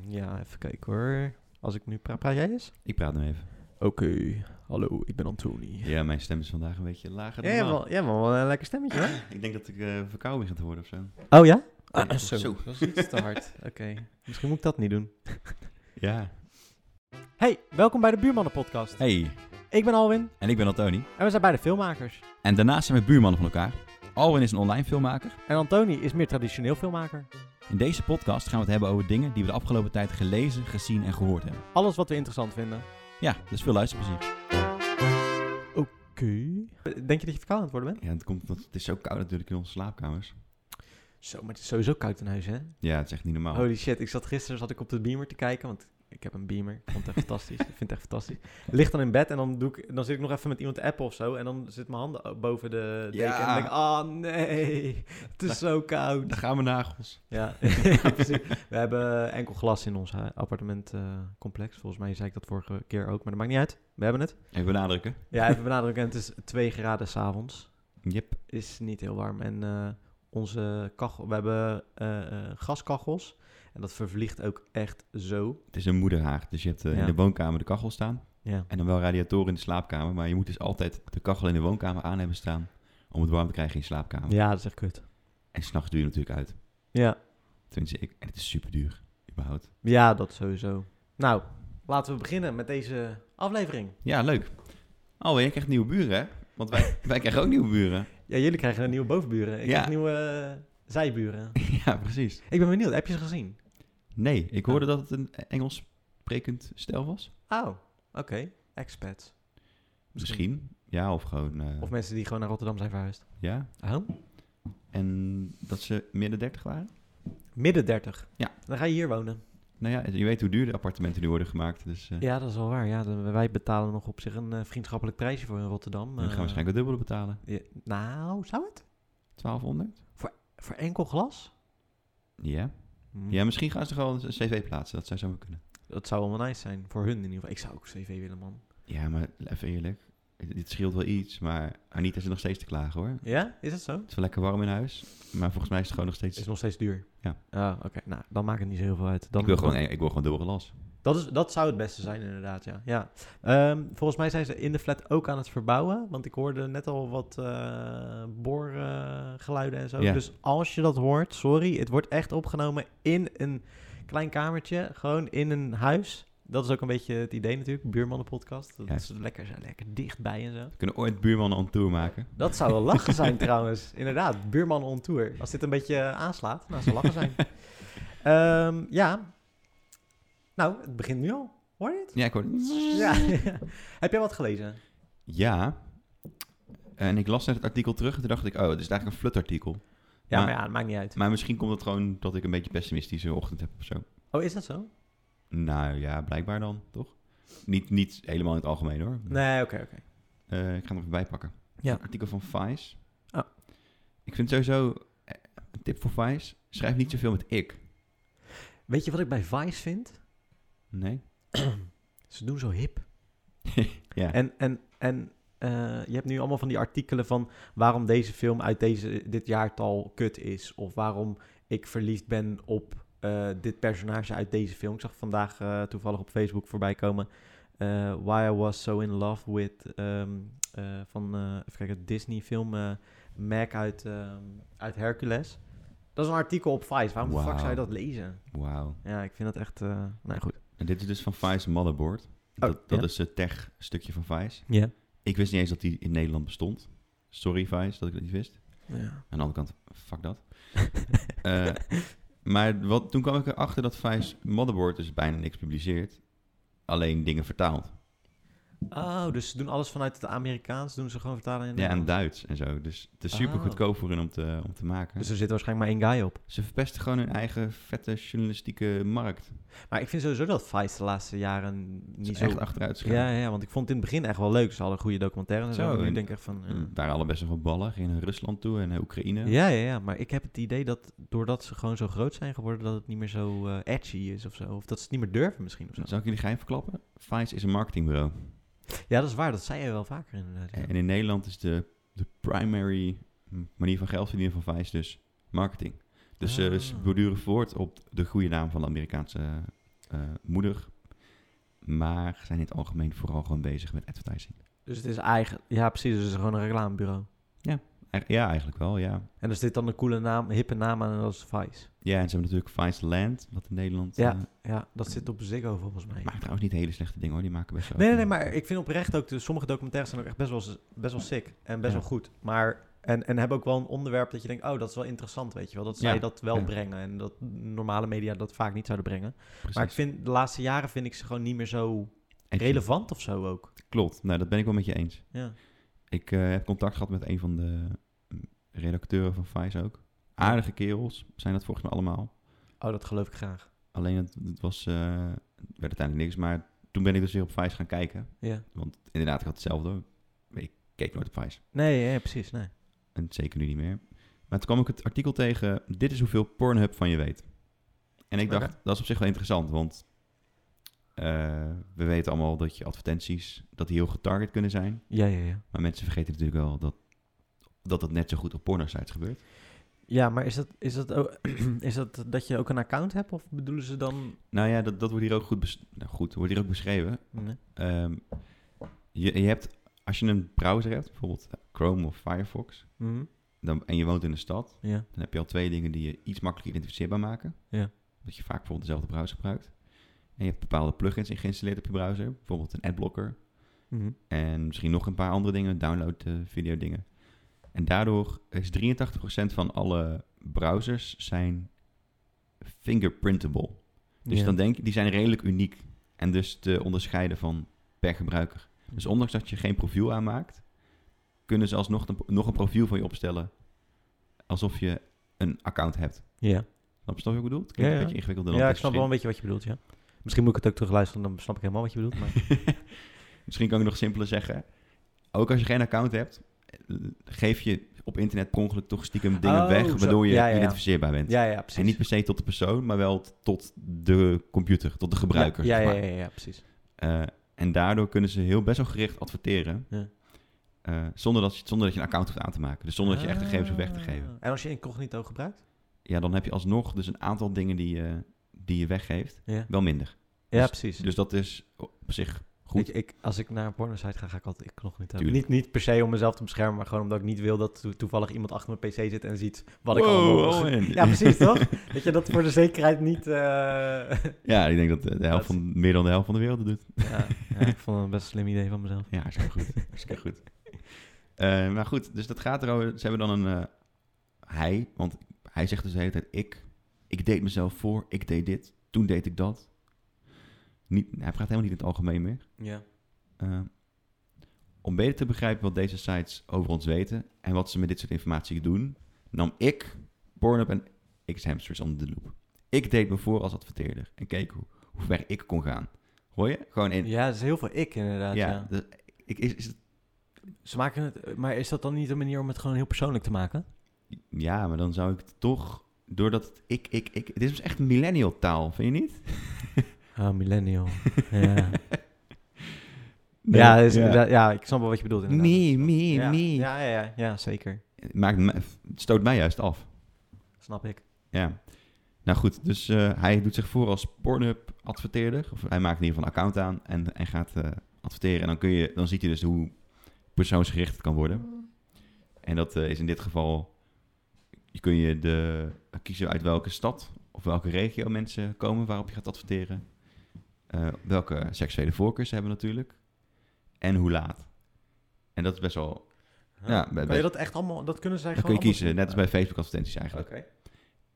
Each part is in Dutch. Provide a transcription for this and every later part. Ja, even kijken hoor. Als ik nu praat, praat jij eens? Ik praat nu even. Oké, hallo, ik ben Antoni. Ja, mijn stem is vandaag een beetje lager Ja, dan ja, normaal. wel, ja, maar wel een lekker stemmetje hè? Ik denk dat ik eh verkouden ben gaan worden of zo. Oh ja? Ah, zo. zo. dat is iets te hard. Oké, misschien moet ik dat niet doen. Ja. Hey, welkom bij de Buurmannen podcast. Hey, Ik ben Alwin en ik ben Antoni. en we zijn beide filmmakers. En daarnaast zijn we buurmannen van elkaar. Alwin is een online filmmaker. En Antoni is meer traditioneel filmmaker. In deze podcast gaan we het hebben over dingen die we de afgelopen tijd gelezen, gezien en gehoord hebben. Alles wat we interessant vinden. Ja, dus veel luisterplezier. Oké. Denk je dat je verkouden aan het worden bent? Ja, het, komt, omdat het is zo koud natuurlijk in onze slaapkamers. Zo, maar het is sowieso koud in huis hè? Ja, het is echt niet normaal. Holy shit, ik zat gisteren zat ik op de beamer te kijken, want ik heb een beamer. Ik vond het echt fantastisch. Ik vind het echt fantastisch. Lig dan in bed en dan, doe ik, dan zit ik nog even met iemand te appen of zo. En dan zit mijn handen o- boven de deken. En Ja. dan denk ik, ah nee, het is zo koud. Daar gaan we nagels. Ja, ja, precies. We hebben enkel glas in ons appartementcomplex. Volgens mij zei ik dat vorige keer ook, maar dat maakt niet uit. We hebben het. Even benadrukken. Ja, even benadrukken, het is 2 graden s'avonds Yep. is niet heel warm. En eh, onze kachel, we hebben eh, eh, gaskachels. En dat vervliegt ook echt zo. Het is een moederhaag, dus je hebt eh, Ja. in de woonkamer de kachel staan. Ja. En dan wel radiatoren in de slaapkamer, maar je moet dus altijd de kachel in de woonkamer aan hebben staan om het warm te krijgen in je slaapkamer. ja, dat is echt kut. En s'nachts duur je natuurlijk uit. Ja. Tenminste, ik, en het is super duur, überhaupt. ja, dat sowieso. Nou, laten we beginnen met deze aflevering. Ja, leuk. Alweer, jij krijgt nieuwe buren, hè? Want wij, wij krijgen ook nieuwe buren. Ja, jullie krijgen een nieuwe bovenburen. Ik Ja. krijg nieuwe eh, zijburen. ja, precies. Ik ben benieuwd, heb je ze gezien? Nee, ik hoorde dat het een Engels sprekend stel was. Oh, oké. Expats. Misschien. Ja, of gewoon... eh, Of mensen die gewoon naar Rotterdam zijn verhuisd. ja. Oh. En dat ze midden dertig waren? Midden 30. Ja. Dan ga je hier wonen. Nou ja, je weet hoe duur de appartementen nu worden gemaakt. Dus eh Ja, dat is wel waar. Ja, dan- wij betalen nog op zich een eh, vriendschappelijk prijsje voor in Rotterdam. dan gaan we Eh, waarschijnlijk het dubbele betalen. Ja, nou, zou het? 1200? Voor enkel glas? Hm. Ja. Ja, misschien gaan ze gewoon een cv plaatsen. Dat zou zo kunnen. Dat zou allemaal nice zijn. Voor hun in ieder geval. Ik zou ook cv willen, man. Ja, maar even eerlijk. Dit scheelt wel iets, maar Anita is nog steeds te klagen, hoor. Ja? Is dat zo? Het is wel lekker warm in huis, maar volgens mij is het gewoon nog steeds... Is nog steeds duur. Ja. Ah, oké. Nou, dan maakt het niet zo heel veel uit. Dan, ik, wil gewoon, ik wil gewoon dubbel glas. Dat, is, dat zou het beste zijn, inderdaad, ja. ja. Ehm, volgens mij zijn ze in de flat ook aan het verbouwen. Want ik hoorde net al wat eh boorgeluiden en zo. Ja. Dus als je dat hoort, sorry. Het wordt echt opgenomen in een klein kamertje. Gewoon in een huis. Dat is ook een beetje het idee natuurlijk. Buurmannenpodcast. Dat Ja. is lekker, zo, lekker dichtbij en zo. We kunnen ooit buurmannen on tour maken. Dat zou wel lachen zijn trouwens. Inderdaad, buurman on tour. Als dit een beetje eh, aanslaat, nou zou lachen zijn. Ehm, ja. Nou, het begint nu al. Hoor je het? Ja, ik hoor... Ja. Heb jij wat gelezen? Ja. En ik las net het artikel terug en toen dacht ik, oh, het is eigenlijk een flutartikel. Ja, maar, Maar- ja, dat maakt niet uit. Maar misschien komt het gewoon dat ik een beetje pessimistische ochtend heb of zo. Oh, is dat zo? Nou ja, blijkbaar dan, toch? Niet, niet helemaal in het algemeen, hoor. Nee, oké, oké. Eh, ik ga hem even bijpakken. Ja. Een artikel van Vice. Oh. Ik vind sowieso, eh, een tip voor Vice, schrijf niet zoveel met ik. Weet je wat ik bij Vice vind? Nee? Ze doen zo hip. Ja. En, en, en eh, je hebt nu allemaal van die artikelen van waarom deze film uit deze, dit jaartal kut is. Of waarom ik verliefd ben op eh, dit personage uit deze film. Ik zag vandaag eh, toevallig op Facebook voorbij komen. eh, Why I Was So In Love With ehm, eh, van, eh, even kijken, Disney film eh Mac uit, ehm, uit Hercules. Dat is een artikel op Vice. Waarom de fuck Wauw. zou je dat lezen? Wauw. Ja, ik vind dat echt... eh nou ja, goed. En dit is dus van Vice Motherboard. dat dat Oh, ja? is het tech-stukje van Vice. Ja. Ik wist niet eens dat die in Nederland bestond. Sorry Vice, dat ik dat niet wist. ja. Aan de andere kant, fuck dat. Eh, maar wat, toen kwam ik erachter dat Vice Motherboard dus bijna niks publiceert. Alleen dingen vertaalt. Oh, dus ze doen alles vanuit het Amerikaans. Doen ze gewoon vertalen in Ja, en Nederland. Duits en zo. Dus het is super Oh. goedkoop voor hen om te, om te maken. Dus er zit waarschijnlijk maar één guy op. Ze verpesten gewoon hun eigen vette journalistieke markt. Maar ik vind sowieso dat Vice de laatste jaren Ze niet is zo... echt achteruit gaan. ja, ja, ja, want ik vond het in het begin echt wel leuk. Ze hadden goede documentaires en zo. Zo, maar nu en- denk ik echt van... eh. Mm, Daar alle best wel veel ballen. Gingen naar Rusland toe en naar Oekraïne. Ja, ja, ja. Maar ik heb het idee dat doordat ze gewoon zo groot zijn geworden... dat het niet meer zo eh, edgy is of zo. Of dat ze het niet meer durven misschien of zo. Zal ik jullie geheim verklappen? Vice is een marketingbureau. Ja, dat is waar. Dat zei je wel vaker inderdaad. ja. En in Nederland is de, de primary manier van geld verdienen van Vice dus marketing. Dus eh, Ah. ze borduren voort op de goede naam van de Amerikaanse eh, moedig. Maar zijn in het algemeen vooral gewoon bezig met advertising. Dus het is eigen... Ja, precies. Dus het is gewoon een reclamebureau. Eigen- Ja, eigenlijk wel, ja. En is dit dan een coole naam, hippe naam aan en dat is Vice. Ja, en ze hebben natuurlijk Vice Land, wat in Nederland... Ja. eh, Ja, dat zit op Ziggo volgens mij. maar trouwens niet hele slechte dingen hoor, die maken best wel... Nee, nee, nee, maar ik vind oprecht ook, de, sommige documentaires zijn ook echt best wel, best wel sick en best Ja. wel goed. Maar, en, en hebben ook wel een onderwerp dat je denkt, oh, dat is wel interessant, weet je wel. Dat zij Ja, dat wel ja. brengen en dat normale media dat vaak niet zouden brengen. Precies. Maar ik vind, de laatste jaren vind ik ze gewoon niet meer zo En- relevant of zo ook. Klopt, nou dat ben ik wel met je eens. Ja. Ik eh, heb contact gehad met een van de mm, redacteuren van Vice ook. Aardige kerels zijn dat volgens mij allemaal. Oh, dat geloof ik graag. Alleen het, het was, eh, het werd uiteindelijk niks. Maar toen ben ik dus weer op Vice gaan kijken. Ja. Want inderdaad, ik had hetzelfde. Ik keek nooit op Vice. Nee, ja, ja, precies, nee. En zeker nu niet meer. Maar toen kwam ik het artikel tegen... Dit is hoeveel Pornhub van je weet. En ik dacht, Oké. dat is op zich wel interessant. Want eh, we weten allemaal dat je advertenties... dat die heel getarget kunnen zijn. Ja, ja, ja. Maar mensen vergeten natuurlijk wel dat... dat dat net zo goed op porno-sites gebeurt. Ja, maar is dat, is dat, ook- is dat dat je ook een account hebt of bedoelen ze dan... Nou ja, dat, dat wordt hier ook goed, bes- nou goed, wordt hier ook beschreven. Nee. Ehm, je, je hebt, als je een browser hebt, bijvoorbeeld Chrome of Firefox, Mhm. dan, en je woont in een stad, Ja, dan heb je al twee dingen die je iets makkelijker identificeerbaar maken. Ja. Dat je vaak bijvoorbeeld dezelfde browser gebruikt. En je hebt bepaalde plugins in geïnstalleerd op je browser, bijvoorbeeld een adblocker. Mhm. En misschien nog een paar andere dingen, download eh, video dingen. En daardoor is 83% van alle browsers zijn fingerprintable. Dus Ja. dan denk ik, die zijn redelijk uniek en dus te onderscheiden van per gebruiker. Dus ondanks dat je geen profiel aanmaakt, kunnen ze alsnog een, nog een profiel van je opstellen alsof je een account hebt. Ja. Snap je wat ik bedoel? Het klinkt Ja, een ja. beetje ingewikkelder dan Ja, ik het dus is snap wel een beetje wat je bedoelt, ja. Misschien moet ik het ook terugluisteren, dan snap ik helemaal wat je bedoelt. Maar... misschien. Misschien kan ik nog simpeler zeggen. Ook als je geen account hebt, eh, geef je op internet per ongeluk toch stiekem dingen Oh, weg zo. waardoor je Ja, ja, ja. identificeerbaar bent. ja, ja, precies. En niet per se tot de persoon, maar wel t- tot de computer, tot de gebruiker. Ja, zeg ja, maar. ja, ja, ja, precies. Eh, en daardoor kunnen ze heel best wel gericht adverteren. Ja. Eh, zonder, dat, je- zonder dat je een account hoeft aan te maken. Dus zonder dat je echt gegevens hoeft weg te Ah. geven. En als je incognito gebruikt? Ja, dan heb je alsnog dus een aantal dingen die je, die je weggeeft. Ja, Wel minder. ja precies. Dus dat is op zich goed. Ik, ik, als ik naar een pornosite ga, ga ik altijd incognito. Tuurlijk. Niet, niet per se om mezelf te beschermen, maar gewoon omdat ik niet wil dat to- toevallig iemand achter mijn pc zit en ziet wat ik Wow, oh, allemaal... mogelijk- Owen. Ja, precies, toch? Dat je dat voor de zekerheid niet... eh, Ja, ik denk dat de helft van, meer dan de helft van de wereld het doet. ja, ja, ik vond het een best slim idee van mezelf. Ja, hartstikke goed. hartstikke goed. Eh, maar goed, dus dat gaat erover. Ze hebben dan een eh, hij, want hij zegt dus de hele tijd ik. Ik deed mezelf voor, ik deed dit, toen deed ik dat. Niet, hij praat helemaal niet in het algemeen meer. Ja. Eh, om beter te begrijpen wat deze sites over ons weten en wat ze met dit soort informatie doen, nam ik Pornhub en X-Hamsters onder de loep. Ik deed me voor als adverteerder en keek hoe, hoe ver ik kon gaan. Hoor je? Gewoon in. Ja, dat is heel veel ik inderdaad, ja. ja, dus ik, is, is het Ze maken het... eh, Maar is dat dan niet een manier om het gewoon heel persoonlijk te maken? Ja, maar dan zou ik het toch, doordat het ik, ik, ik... Dit is dus echt millennial taal, vind je niet? Oh, millennial. ja. Ja, is ja. inderdaad- ja, ik snap wel wat je bedoelt inderdaad. Me, me, ja. me. Ja, ja, ja, ja, zeker. Maakt me- het stoot mij juist af. Snap ik. Ja. Nou goed, dus eh, hij doet zich voor als Pornhub-adverteerder. Of hij maakt in ieder geval een account aan en, en gaat eh, adverteren. En dan, kun je, dan ziet hij dus hoe persoonsgericht het kan worden. En dat eh, is in dit geval... Je kun je de, kiezen uit welke stad of welke regio mensen komen waarop je gaat adverteren. Eh, welke seksuele voorkeur ze hebben natuurlijk. En hoe laat. En dat is best wel... Ja, bij- Wil je dat echt allemaal, dat kunnen zij Dan kun gewoon je kiezen, net als bij allemaal Facebook-advertenties doen? eigenlijk. Oké.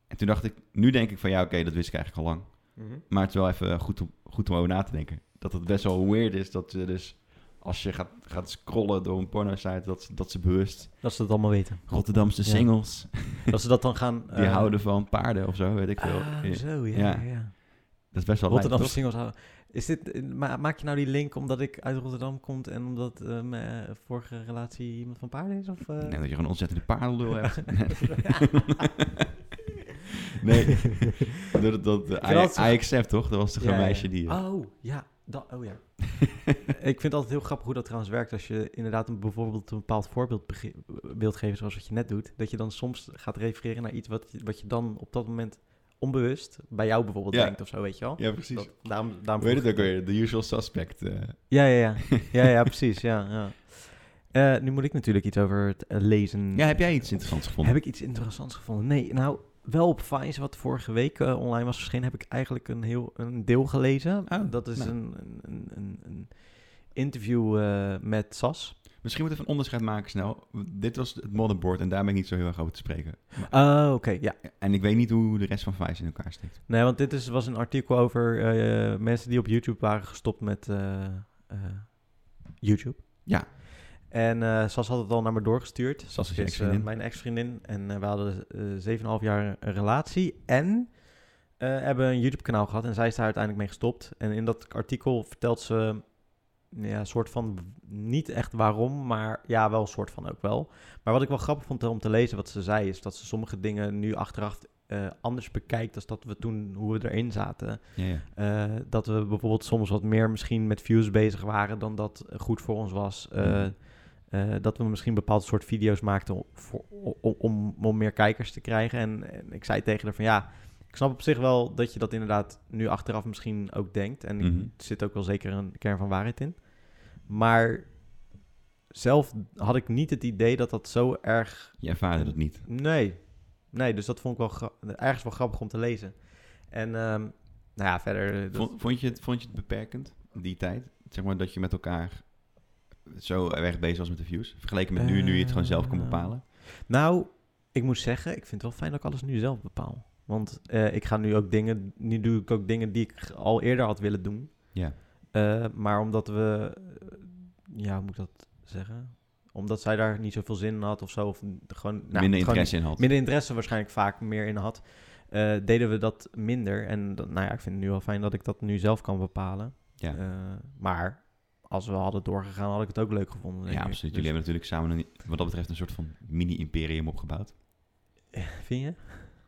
En toen dacht ik... Nu denk ik van ja, oké, dat wist ik eigenlijk al lang. Mhm. Maar het is wel even goed om, goed om over na te denken. Dat het best wel weird is dat ze dus... Als je gaat, gaat scrollen door een porno-site, dat, ze- dat ze bewust... Dat ze dat allemaal weten. Rotterdamse Ja. singles, Dat ze dat dan gaan... eh, die houden van paarden of zo, weet ik veel. Ja, Ah, zo, ja. Ja. ja. ja. dat is best wel lijp, Rotterdamse toch? singles houden. Is dit, ma- maak je nou die link omdat ik uit Rotterdam kom en omdat eh, mijn eh, vorige relatie iemand van paarden is? Of, eh? Nee, dat je gewoon ontzettende paardenlul hebt. nee, dat, dat, vind altijd zo- I, I accept, toch? Dat was toch Ja, een ja, meisje ja. die... eh, Oh, ja. Dat, oh ja. ik vind het altijd heel grappig hoe dat trouwens werkt. Als je inderdaad een, bijvoorbeeld een bepaald voorbeeld bege- wilt geven, zoals wat je net doet. Dat je dan soms gaat refereren naar iets wat, je- wat je dan op dat moment onbewust bij jou bijvoorbeeld Ja. denkt of zo, weet je wel. Ja, precies. Dat- daarom, daarom Weet vroeg het ik ook weer, The Usual Suspect. eh. Ja, ja, ja. ja, ja precies. Ja, ja. Eh, nu moet ik natuurlijk iets over het eh, lezen. Ja, heb jij iets interessants gevonden? Heb ik iets interessants gevonden? Nee, nou, wel op Vice, wat vorige week eh, online was verschenen, heb ik eigenlijk een heel een deel gelezen. Oh, dat is nou. een, een- een, een, een interview eh, met Sas. Misschien moet even een onderscheid maken snel. Dit was het modderboard en daar ben ik niet zo heel erg over te spreken. Oh, oké, ja. En ik weet niet hoe de rest van Vice in elkaar steekt. Nee, want dit is, was een artikel over eh, mensen die op YouTube waren gestopt met eh, eh, YouTube. Ja. En eh, Sas had het al naar me doorgestuurd. Sas is je Dus, ex-vriendin. eh, mijn ex-vriendin. En eh, we hadden eh 7,5 jaar een relatie. En eh, hebben een YouTube-kanaal gehad. En zij is daar uiteindelijk mee gestopt. En in dat artikel vertelt ze... Ja, een soort van... Niet echt waarom, maar ja, wel een soort van ook wel. Maar wat ik wel grappig vond om te lezen wat ze zei... is dat ze sommige dingen nu achteraf eh, anders bekijkt... dan dat we toen, hoe we erin zaten. Ja, ja. Eh, dat we bijvoorbeeld soms wat meer misschien met views bezig waren dan dat goed voor ons was. Eh, Mhm. eh, dat we misschien bepaald soort video's maakten om, voor- om, om, om meer kijkers te krijgen. En, en ik zei tegen haar van ja, ik snap op zich wel dat je dat inderdaad nu achteraf misschien ook denkt. En Mhm. er zit ook wel zeker een kern van waarheid in. Maar zelf had ik niet het idee dat dat zo erg Je ervaarde dat niet. Nee. Nee, dus dat vond ik wel gra- ergens wel grappig om te lezen. En ehm, nou ja, verder... eh, dat- Vond, vond, je het, vond je het beperkend, die tijd? Zeg maar dat je met elkaar zo erg bezig was met de views? Vergeleken met nu, nu je het gewoon zelf kan Eh, bepalen. Nou, ik moet zeggen, ik vind het wel fijn dat ik alles nu zelf bepaal. Want eh, ik ga nu ook dingen... Nu doe ik ook dingen die ik al eerder had willen doen. Ja. Eh, maar omdat we... eh, ja, hoe moet ik dat zeggen? Omdat zij daar niet zoveel zin in had of zo. Of gewoon, nou, Minder gewoon- interesse in had. minder interesse waarschijnlijk vaak meer in had, eh, deden we dat minder. En dat, nou ja, ik vind het nu wel fijn dat ik dat nu zelf kan bepalen. Ja. Eh, maar als we hadden doorgegaan, had ik het ook leuk gevonden. denk ja, ik. absoluut. Jullie Dus- hebben natuurlijk samen, een, wat dat betreft, een soort van mini-imperium opgebouwd. Vind je?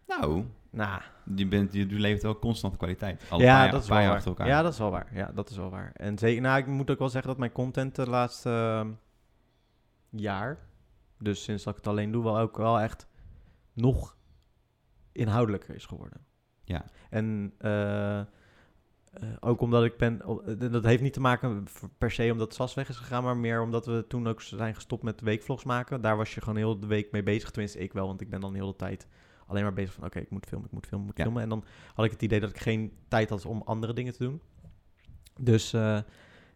Nou, Nou, je, bent, je levert wel constante kwaliteit. Alle ja, paar, dat is paar wel jaar waar. achter elkaar. Ja, dat is wel waar. Ja, dat is wel waar. En zeker, nou, ik moet ook wel zeggen dat mijn content de laatste eh, jaar, dus sinds dat ik het alleen doe, wel ook wel echt nog inhoudelijker is geworden. Ja. En eh, eh, ook omdat ik ben, oh, eh, dat heeft niet te maken v- per se omdat Sas weg is gegaan, maar meer omdat we toen ook zijn gestopt met weekvlogs maken. Daar was je gewoon heel de week mee bezig, tenminste ik wel, want ik ben dan heel de tijd alleen maar bezig van oké, ik moet filmen, ik moet filmen, ik moet Ja. filmen. En dan had ik het idee dat ik geen tijd had om andere dingen te doen. Dus eh,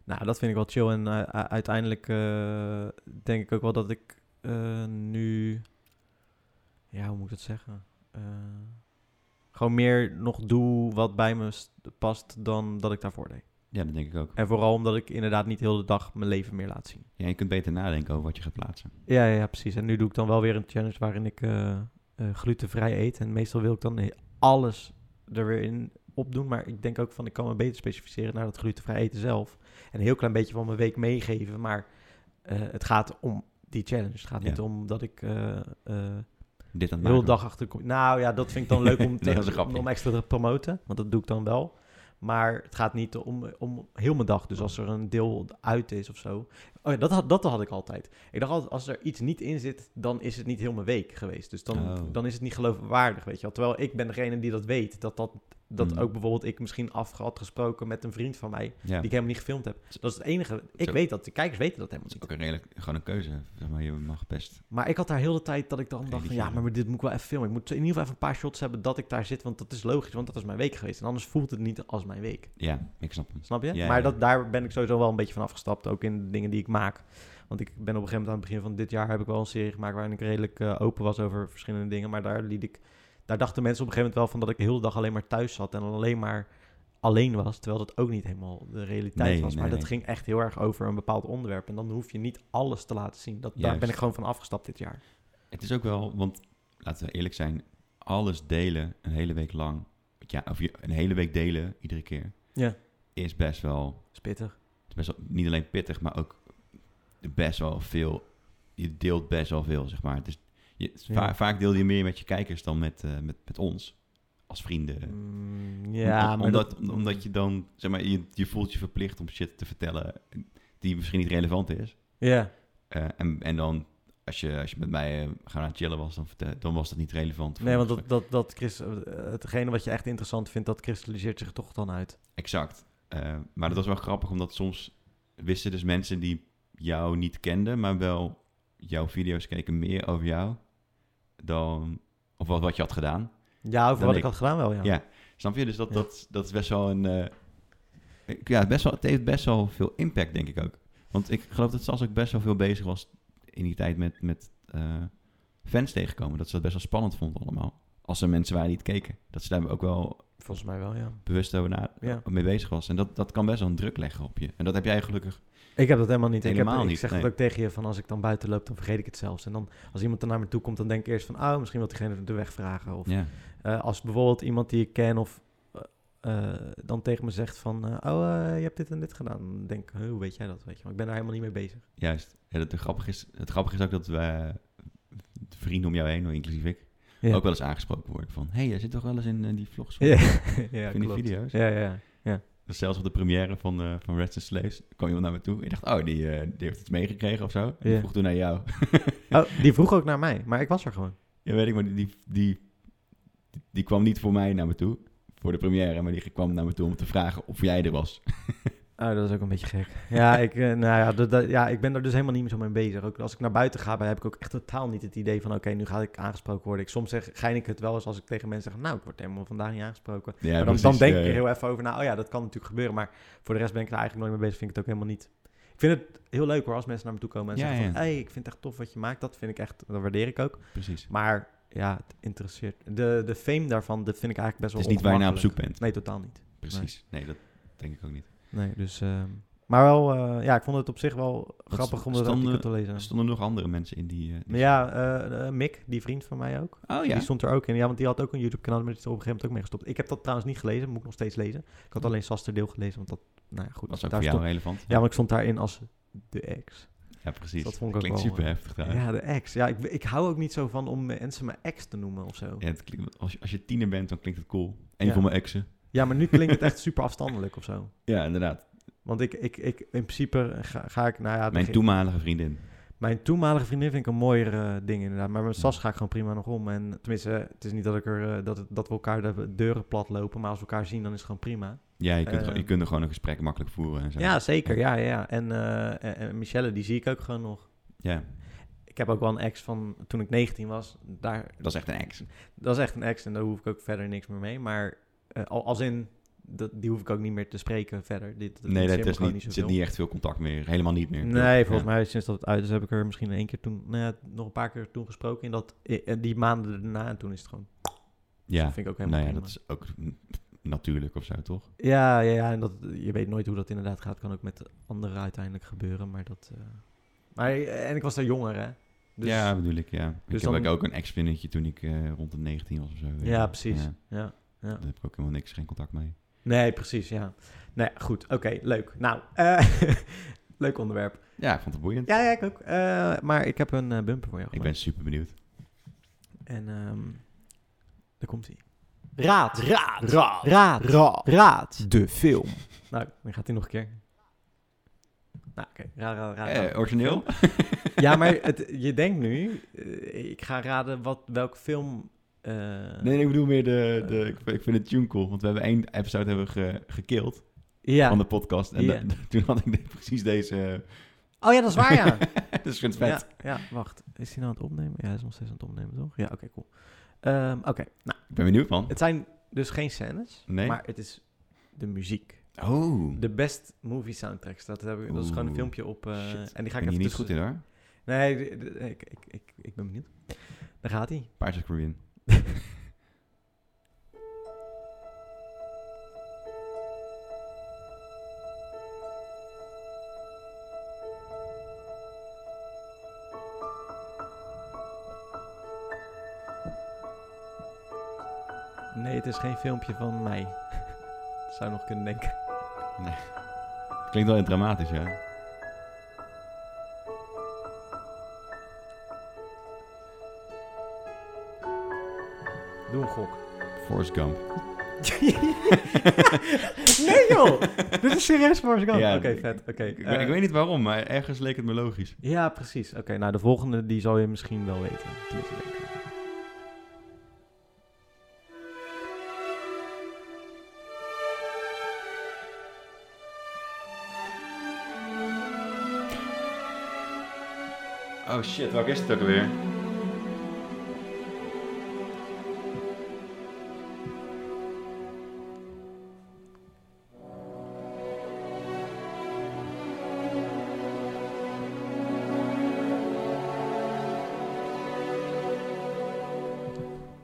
nou, dat vind ik wel chill. En eh, u- uiteindelijk eh, denk ik ook wel dat ik eh, nu. Ja, hoe moet ik dat zeggen? Eh, gewoon meer nog doe wat bij me s- past dan dat ik daarvoor deed. ja, dat denk ik ook. En vooral omdat ik inderdaad niet heel de dag mijn leven meer laat zien. Ja, je kunt beter nadenken over wat je gaat plaatsen. Ja, ja, ja, precies. En nu doe ik dan wel weer een challenge waarin ik eh, eh, glutenvrij eet. En meestal wil ik dan he- alles er weer in opdoen. Maar ik denk ook van, ik kan me beter specificeren naar dat glutenvrij eten zelf. En een heel klein beetje van mijn week meegeven. Maar eh, het gaat om die challenge. Het gaat Ja. niet om dat ik eh eh, Dit aan de het hele maken. dag achter... kom- Nou ja, dat vind ik dan leuk om, te- Nee, dat is een grapje. om extra te promoten. Want dat doe ik dan wel. Maar het gaat niet om, om heel mijn dag. Oh. Dus als er een deel uit is of zo. Oh ja, dat had, dat had ik altijd. Ik dacht altijd, als er iets niet in zit, dan is het niet heel mijn week geweest. Dus dan, Oh. dan is het niet geloofwaardig, weet je wel. Terwijl ik ben degene die dat weet. Dat, dat, dat Mm. ook bijvoorbeeld ik misschien af had gesproken met een vriend van mij... die Ja. ik helemaal niet gefilmd heb. Dat is het enige. Ik Zo. weet dat, de kijkers weten dat helemaal Dat is niet. ook een redelijk, gewoon een keuze. Zeg maar, je mag best. Maar ik had daar heel de tijd dat ik dan dacht van... ja, Redigeren. maar dit moet ik wel even filmen. Ik moet in ieder geval even een paar shots hebben dat ik daar zit... want dat is logisch, want dat is mijn week geweest. En anders voelt het niet als mijn week. Ja, ik snap hem. Snap je? Ja, maar ja. dat, daar ben ik sowieso wel een beetje van afgestapt. Ook in de dingen die ik maak. Want ik ben op een gegeven moment aan het begin van dit jaar... heb ik wel een serie gemaakt waarin ik redelijk eh, open was over verschillende dingen. Maar daar liet ik... Daar dachten mensen op een gegeven moment wel van... dat ik de hele dag alleen maar thuis zat en alleen maar alleen was. Terwijl dat ook niet helemaal de realiteit Nee, was. Maar nee, dat nee. ging echt heel erg over een bepaald onderwerp. En dan hoef je niet alles te laten zien. Dat, daar Juist. ben ik gewoon van afgestapt dit jaar. Het is ook wel, want laten we eerlijk zijn, alles delen een hele week lang. Ja, of je, een hele week delen iedere keer. Ja. Is best wel, Spittig. is best wel, niet alleen pittig, maar ook best wel veel. Je deelt best wel veel, zeg maar. Het is, je, het is Ja. va- vaak deel je meer met je kijkers dan met, eh, met, met ons. Als vrienden. Mm, ja, Om- maar omdat, dat- omdat je dan, zeg maar, je, je voelt je verplicht om shit te vertellen die misschien niet relevant is. Ja, Eh, en, en dan als je, als je met mij eh, gaan aan het chillen was, dan, vertel- dan was dat niet relevant. voor Nee, een want dat, dat, dat Chris, eh, hetgene wat je echt interessant vindt, dat kristalliseert zich toch dan uit. Exact. Eh, maar dat was wel grappig, omdat soms wisten dus mensen die jou niet kenden, maar wel jouw video's keken meer over jou dan of wat, wat je had gedaan. Ja, over Dan wat ik. ik had gedaan wel, ja. Ja. Snap je? Dus dat, Ja. dat, dat is best wel een. eh, ik- ja, best wel, het heeft best wel veel impact, denk ik ook. Want ik geloof dat Sas ook best wel veel bezig was in die tijd met, met eh, fans tegenkomen. Dat ze dat best wel spannend vond allemaal. Als er mensen waren die het keken. Dat ze daar ook wel Volgens mij wel, ja. bewust over na, Ja. mee bezig was. En dat, dat kan best wel een druk leggen op je. En dat heb jij gelukkig. Ik heb dat helemaal niet. ik, Helemaal heb, ik niet, zeg nee. het ook tegen je van als ik dan buiten loop, dan vergeet ik het zelfs. En dan als iemand er naar me toe komt, dan denk ik eerst van, oh, misschien wil diegene de weg vragen. Of Ja. eh, als bijvoorbeeld iemand die ik ken of eh, eh, dan tegen me zegt van, eh, oh, eh, je hebt dit en dit gedaan. Dan denk ik, "Huh, hoe weet jij dat? Weet je? Maar ik ben daar helemaal niet mee bezig. Juist. Ja, dat, het, grappige is, het grappige is ook dat we vrienden om jou heen, inclusief ik, Ja. ook wel eens aangesproken worden van... hey, jij zit toch wel eens in eh, die vlogs van, Ja, van ja, die klopt. video's? Ja, ja, ja. Dus zelfs op de première van, eh van Reds and Slaves kwam iemand naar me toe. Ik dacht, oh, die, eh, die heeft iets meegekregen of zo. En die Ja. vroeg toen naar jou. Oh, die vroeg ook naar mij, maar ik was er gewoon. ja, weet ik, maar die, die, die, die kwam niet voor mij naar me toe, voor de première. Maar die kwam naar me toe om te vragen of jij er was. Oh, dat is ook een beetje gek. Ja, ik, eh, nou ja, dat, dat- ja, ik ben daar dus helemaal niet meer zo mee bezig. Ook als ik naar buiten ga, heb ik ook echt totaal niet het idee van... oké, nu ga ik aangesproken worden. Ik, soms zeg, gein ik het wel eens als ik tegen mensen zeg... nou, ik word helemaal vandaag niet aangesproken. Ja, Maar dan, precies, dan denk eh, ik er heel even over na. Oh ja, dat kan natuurlijk gebeuren. Maar voor de rest ben ik er eigenlijk nooit mee bezig. Vind ik het ook helemaal niet. Ik vind het heel leuk hoor, als mensen naar me toe komen en Ja, zeggen ja. van... hey, ik vind het echt tof wat je maakt. Dat vind ik echt, dat waardeer ik ook. Precies. Maar ja, het interesseert... De, de fame daarvan, dat vind ik eigenlijk best wel Het is niet waar je naar op zoek ongemakkelijk. bent. Nee, totaal niet. Precies. Nee, dat denk ik ook niet. Nee, dus... ehm, maar wel, eh, ja, ik vond het op zich wel grappig st- om dat stonden- artikel te lezen. Er stonden nog andere mensen in die... eh, die- Maar ja, eh, eh, Mick, die vriend van mij ook, Oh ja. die stond er ook in. Ja, want die had ook een YouTube-kanaal, maar die is er op een gegeven moment ook mee gestopt. Ik heb dat trouwens niet gelezen, moet ik nog steeds lezen. Ik had alleen Saster deel gelezen, want dat, nou ja, goed. Hm. was ook daar voor jou stond, relevant. ja, want ik stond daarin als de ex. Ja, precies. dat vond ik ook klinkt wel, super eh, heftig Ja, trouwens. de ex. Ja, ik, ik hou ook niet zo van om mensen mijn ex te noemen of zo. Ja, Ja, het klinkt- als, je, als je tiener bent, dan klinkt het cool. Eén Ja. van mijn exen. maar nu klinkt het echt super afstandelijk of zo. Ja, inderdaad. Want ik, ik, ik in principe ga, ga ik, nou ja... de Mijn ge- toenmalige vriendin. Mijn toenmalige vriendin vind ik een mooier eh, ding inderdaad. Maar met Sas ga ik gewoon prima nog om. En tenminste, eh, het is niet dat, ik er, eh, dat, het- dat we elkaar de deuren plat lopen. Maar als we elkaar zien, dan is het gewoon prima. Ja, je kunt, Eh, gewoon- je kunt er gewoon een gesprek makkelijk voeren en zo. Ja, zeker. Ja, ja, ja. En, eh, en- en Michelle, die zie ik ook gewoon nog. Ja, Ik heb ook wel een ex van toen ik 19 was. Daar, dat is echt een ex. dat is echt een ex en daar hoef ik ook verder niks meer mee. Maar eh, al als in, dat, die hoef ik ook niet meer te spreken verder. Dit, nee, interesseert dat me is gewoon niet, er zoveel. zit niet echt veel contact meer. Helemaal niet meer. Nee, volgens Ja. mij sinds dat het uit is heb ik er misschien één keer toen, nou ja, nog een paar keer toen gesproken. In dat, eh, die maanden daarna en toen is het gewoon. Ja, Dat vind ik ook helemaal nou prima. ja, dat is ook mm, natuurlijk of zo, toch? ja, ja, ja, en dat, je weet nooit hoe dat inderdaad gaat. Kan ook met anderen uiteindelijk gebeuren, maar dat... eh, Maar, en ik was daar jonger, hè? Dus, ja, bedoel ik, ja. Ik dus heb dan- ook een ex-vriendinnetje toen ik eh, rond de 19 was of zo. weet je ja, wel. precies. Ja, Ja. daar heb ik ook helemaal niks, geen contact mee. Nee, precies, ja. Nee, goed. Oké, leuk. Nou, eh, leuk onderwerp. Ja, ik vond het boeiend. Ja, ja, ik ook. Eh, maar ik heb een eh, bumper voor jou Ik gemaakt. ben super benieuwd. En ehm daar komt hij. Raad, raad, raad, raad, raad, raad. De film. Nou, dan gaat hij nog een keer. Nou, oké. Raad, raad, raad. raad. Eh, origineel? Ja, maar het, je denkt nu, eh, ik ga raden wat, welke film. eh, Nee, nee, ik bedoel meer de... de ik, ik vind het tune cool, want we hebben één episode hebben we ge, gekild ja. van de podcast. En Ja. da- toen had ik de- precies deze... Oh ja, dat is waar, ja. dus ik vind het ja. vet. Ja, wacht. Is hij nou aan het opnemen? Ja, hij is nog steeds aan het opnemen, toch? Ja, oké, cool. Ehm, oké, nou, Ik ben benieuwd, man. het zijn dus geen scènes, Nee? maar het is de muziek. Oh, De best movie soundtracks. Dat, heb ik, dat is gewoon een Oeh, filmpje op. eh, shit. en die ga ik ik even ben hier niet tussen- goed in, hoor. Nee, d- d- ik, ik, ik, ik ben benieuwd. Daar gaat hij. Pirates of the Caribbean. Nee, het is geen filmpje van mij. Zou je nog kunnen denken. Klinkt wel dramatisch, ja. Doe een gok. Forrest Gump. nee joh, dit is serieus Forrest Gump. Ja, Oké, ik- vet. Oké. Ik, eh, weet- ik weet niet waarom, maar ergens leek het me logisch. Ja, precies. Oké, nou de volgende die zal je misschien wel weten. Tenminste, denk ik. Oh shit, welk is het ook alweer?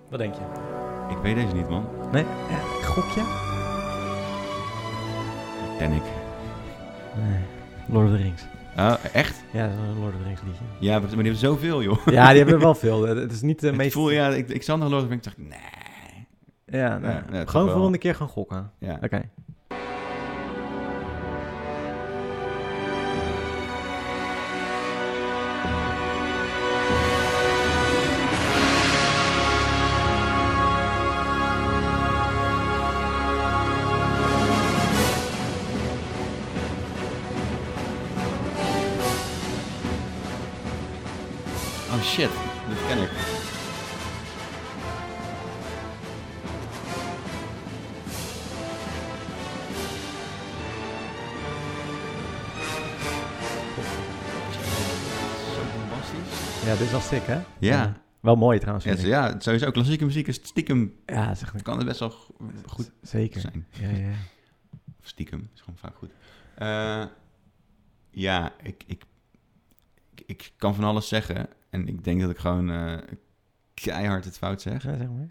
Wat denk je? Ik weet deze niet, man. Nee? Ja, gokje? Titanic. Nee. Lord of the Rings. Ah, echt? Ja, dat is een Lord of the Rings liedje. Ja, maar die hebben zoveel, joh. Ja, die hebben er wel veel. Eh, Het is niet de Ik meest... voel, ja, ik, ik zat nog logisch en ik dacht, nee. Ja, nou, Ja, ja, toch gewoon wel. volgende keer gaan gokken. Ja. Oké. Oh shit, dat ken ik. Zo bombastisch. Ja, dit is wel sick, hè? Ja. Wel mooi trouwens. Ja, vind zo- ik. ja, sowieso. Klassieke muziek is stiekem. Ja, dat is echt een- Kan het best wel g- goed Zeker. zijn. Ja, ja. ja. Of stiekem, is gewoon vaak goed. Eh, ja, ik, ik, ik, ik kan van alles zeggen. En ik denk dat ik gewoon eh, keihard het fout zeg. Ja, zeg maar.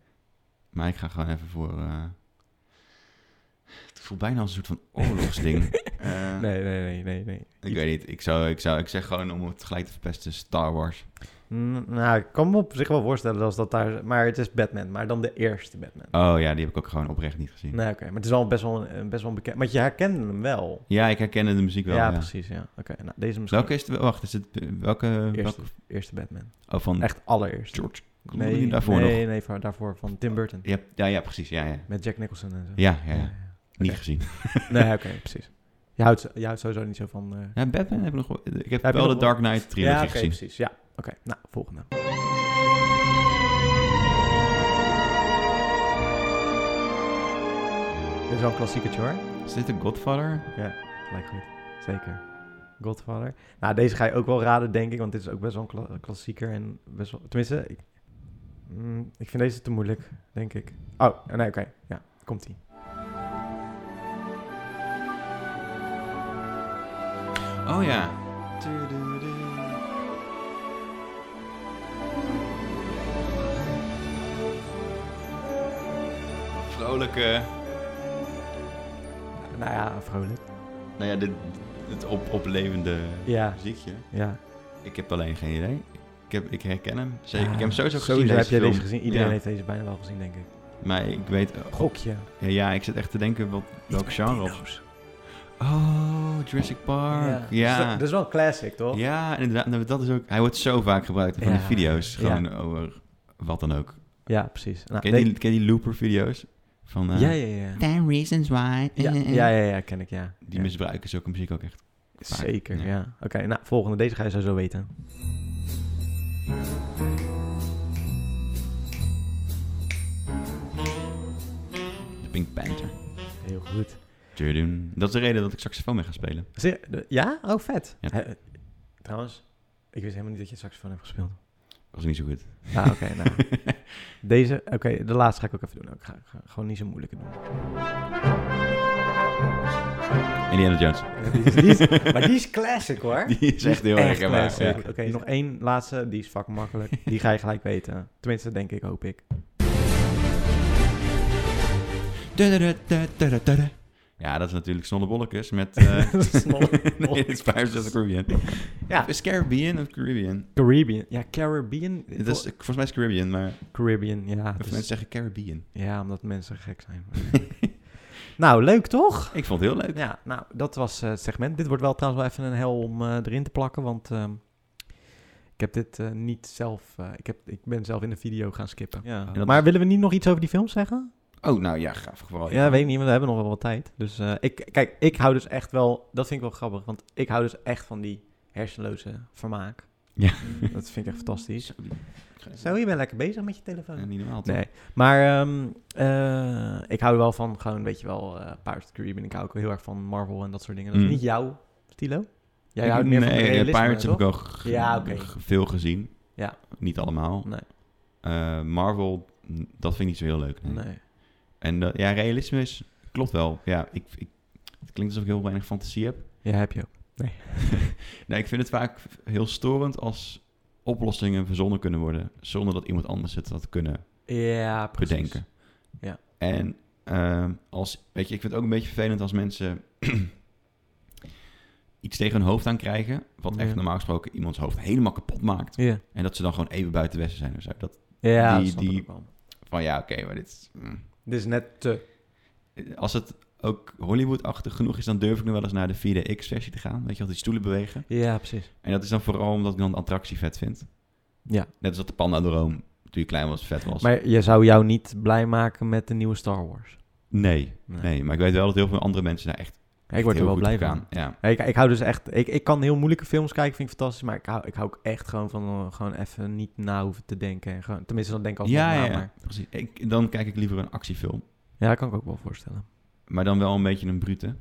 Maar ik ga gewoon even voor... eh, het voelt bijna als een soort van oorlogsding. Eh, Nee, nee, nee, nee, nee. Ik weet niet. Ik, zou, ik, zou, ik zeg gewoon om het gelijk te verpesten, Star Wars. Mm, nou, ik kan me op zich wel voorstellen als dat daar... Maar het is Batman, maar dan de eerste Batman. Oh ja, die heb ik ook gewoon oprecht niet gezien. Nee, oké. Maar het is al best wel, een- best wel een bekend... Want je herkende hem wel. Ja, ik herkende de muziek wel. ja, Ja, precies, ja. Oké, nou, deze misschien. Welke is het? Wacht, is het... eh, Welke... Eerste, welke eerste Batman. oh, van Echt allereerst. George Clooney Nee, daarvoor nee, nog. Oh, nee, van- daarvoor van Tim Burton. Ja, ja, ja, precies. Ja, ja. Met Jack Nicholson en zo. Ja, ja, ja. ja. Niet Oké. gezien. Nee, oké, precies. Je houdt, je houdt sowieso niet zo van... eh, Ja, Batman heb ik nog wel... Ik heb, Heb je wel de nog wel- Dark Knight trilogie ja, oké, gezien. precies. Ja, oké. Nou, volgende. Dit is wel een klassieketje hoor. Is dit een Godfather? Lijkt goed. Zeker. Godfather. Nou, deze ga je ook wel raden, denk ik. Want dit is ook best wel een kla- klassieker. En best wel... Tenminste, ik, Mm, ik vind deze te moeilijk, denk ik. Oh, nee, oké. Ja, komt-ie. Oh ja. Vrolijke... Nou ja, vrolijk. Nou ja, dit, het op, oplevende Ja, muziekje. ja. Ik heb alleen geen idee. Ik, heb, ik herken hem. Zeker. Ja, ik heb hem sowieso gezien, Sowieso deze heb jij film. deze gezien. Iedereen Ja, heeft deze bijna wel gezien, denk ik. Maar ik weet... Gokje. Ja, ja, ik zit echt te denken wat, welk met genre. of- dino's. Oh, Jurassic Park. Ja. Dus dat, dat is wel een classic, toch? Ja, inderdaad. Nou, Dat is ook, hij wordt zo vaak gebruikt van Ja. de video's. Ja. Gewoon over wat dan ook. Ja, precies. Nou, Ken je denk- die, ken je die looper-video's? Van eh ja, ja, ja. 10 Reasons Why. Ja, ja, ja, ja, ken ik, ja. Die Ja. misbruiken zulke muziek ook echt. vaak, Zeker, ja. ja. Oké, nou, volgende. Deze ga je sowieso weten. De Pink Panther. Heel goed. Tudum. Dat is de reden dat ik saxofoon mee ga spelen. Zeer- de- ja? Oh, vet. Ja. Hè, eh, trouwens, ik wist helemaal niet dat je saxofoon hebt gespeeld. was niet zo goed. Ja, oké, nou. Deze, oké, de laatste ga ik ook even doen. Ik ga, ga gewoon niet zo moeilijke doen. Indiana Jones. Die is- die is- maar die is classic, hoor. Die is echt heel erg herkenbaar. classic. Ja. Oké, nog één laatste. Die is fucking makkelijk. Die ga je gelijk weten. Tenminste, denk ik, hoop ik. Tudududududududud. Ja, dat is natuurlijk Snollebollekes met... eh nee, het is Pirates of the Caribbean. Ja. Of Is Caribbean of Caribbean? Caribbean. Ja, Caribbean. Dat is, volgens mij is Caribbean, maar... Caribbean, ja. dus Of het is- mensen zeggen Caribbean. ja, omdat mensen gek zijn. nou, leuk toch? Ik vond het heel leuk. Ja, nou, dat was eh, het segment. Dit wordt wel trouwens wel even een hel om eh, erin te plakken, want ehm, ik heb dit eh, niet zelf... eh, ik, heb, ik ben zelf in de video gaan skippen. En dat Maar is- willen we niet nog iets over die film zeggen? Oh, nou ja, ga vooral. Ja, weet ik niet, maar we hebben nog wel wat tijd. Dus eh, ik, kijk, ik hou dus echt wel, dat vind ik wel grappig, want ik hou dus echt van die hersenloze vermaak. Ja. Dat vind ik echt fantastisch. Zo, die- Zo, je bent lekker bezig met je telefoon. Ja, niet normaal, toch? Nee, maar ehm, eh, ik hou er wel van, gewoon, weet je wel, eh Pirates of the Caribbean. Ik hou ook heel erg van Marvel en dat soort dingen. Dat is Mm. niet jouw stilo. Jij Ik- houdt meer van nee, het eh, realisme, Pirates toch? heb ik ook g- Ja, oké. g- veel gezien. Ja. Niet allemaal. Nee. Eh, Marvel, n- dat vind ik niet zo heel leuk. nee. Nee. En dat- ja, realisme is, klopt wel. Ja, ik, ik, het klinkt alsof ik heel weinig fantasie heb. Ja, heb je ook. Nee, ik vind het vaak heel storend als oplossingen verzonnen kunnen worden... zonder dat iemand anders het had kunnen Ja, precies. bedenken. Ja. En ehm, als, weet je, ik vind het ook een beetje vervelend als mensen iets tegen hun hoofd aan krijgen, wat echt Ja. normaal gesproken iemands hoofd helemaal kapot maakt. Ja, En dat ze dan gewoon even buiten westen zijn of zo. Dat ja Die- die, die- die... van ja, oké, maar dit is, mm. Dit is net te... Als het ook Hollywood-achtig genoeg is, dan durf ik nu wel eens naar de 4DX-versie te gaan. Weet je, wat die stoelen bewegen. Ja, precies. En dat is dan vooral omdat ik dan de attractie vet vind. Ja. Net als dat de Pandadroom, toen je klein was, vet was. Maar je zou jou niet blij maken met de nieuwe Star Wars. Nee, Nee. nee, maar ik weet wel dat heel veel andere mensen daar echt, ik word er heel wel goed blij op van. gaan. Ja. Ja, Ik, ik hou dus echt... Ik, ik kan heel moeilijke films kijken, vind ik fantastisch. Maar ik hou, ik hou ook echt gewoon van eh, gewoon even niet na hoeven te denken. En gewoon, tenminste, dan denk ik altijd ja, na, ja, ja, maar... precies. Ik, dan kijk ik liever een actiefilm. Ja, dat kan ik ook wel voorstellen. Maar dan wel een beetje een brute.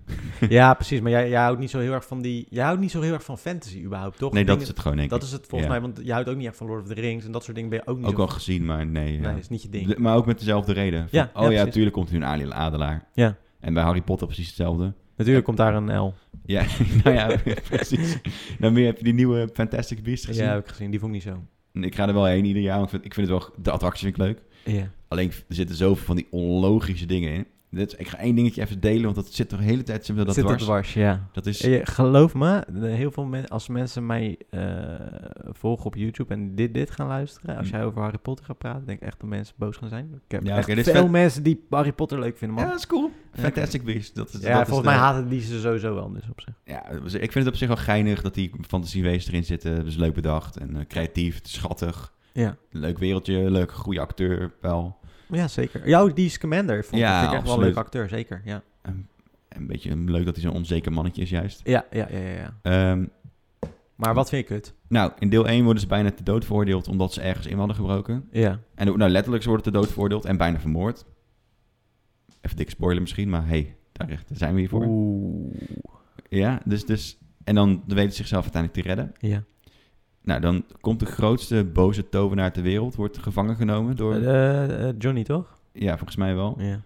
ja, precies. Maar jij, jij houdt niet zo heel erg van die... Jij houdt niet zo heel erg van fantasy überhaupt, toch? nee, dat is Dingen- het gewoon, denk ik. dat is het volgens ja. mij. Want jij houdt ook niet echt van Lord of the Rings. En dat soort dingen ben je ook niet Ook zo... al gezien, maar nee. ja. Nee, is niet je ding. De- maar ook met dezelfde reden. Van, Ja, ja, oh ja, precies. natuurlijk komt er nu een alien adelaar. Ja. En bij Harry Potter precies hetzelfde. Natuurlijk komt daar een L. Ja, nou ja, precies. Dan meer heb je die nieuwe Fantastic Beasts gezien. Ja, heb ik gezien. Die vond ik niet zo. Ik ga er wel heen ieder jaar, want ik vind, ik vind het wel, de attractie vind ik leuk. Ja. Alleen er zitten zoveel van die onlogische dingen in. Dit, ik ga één dingetje even delen, want dat zit er de hele tijd zit me dat Dus- Zit dwars. dat dwars, ja. Dat is, Eh, Geloof me, de- heel veel mensen, als mensen mij eh, volgen op YouTube en dit, dit gaan luisteren, als Hm. jij over Harry Potter gaat praten, denk ik echt dat mensen boos gaan zijn. Ik heb Ja, echt oké, dit is veel vet. mensen die Harry Potter leuk vinden, ja, man. dat is cool. Fantastic Beasts. Dat is, Ja, dat is volgens de- mij haten die ze sowieso wel, dus op zich. Ja, dus ik vind het op zich wel geinig dat die fantasiewezen erin zitten. Dus leuk bedacht en eh, creatief, het is schattig. Ja, Leuk wereldje, leuk, goede acteur wel. ja zeker. Jouw die is Commander, vond ik- Ja, vind ik echt wel een absoluut. leuk acteur, zeker. Ja, En, een beetje leuk dat hij zo'n onzeker mannetje is juist. ja, ja, ja. ja, ja. Ehm, Maar wat vind je kut? nou, in deel 1 worden ze bijna te dood veroordeeld omdat ze ergens in hadden gebroken. Ja, En ook- nou, letterlijk ze worden te dood veroordeeld en bijna vermoord. Even dik spoiler misschien, maar hey, daar, daar zijn we hier voor. oeh. Ja, dus, dus... En dan weten ze zichzelf uiteindelijk te redden. Ja. Nou, dan komt de grootste boze tovenaar ter wereld, wordt gevangen genomen door... Eh, eh, Johnny, toch? Ja, volgens mij wel. Ja.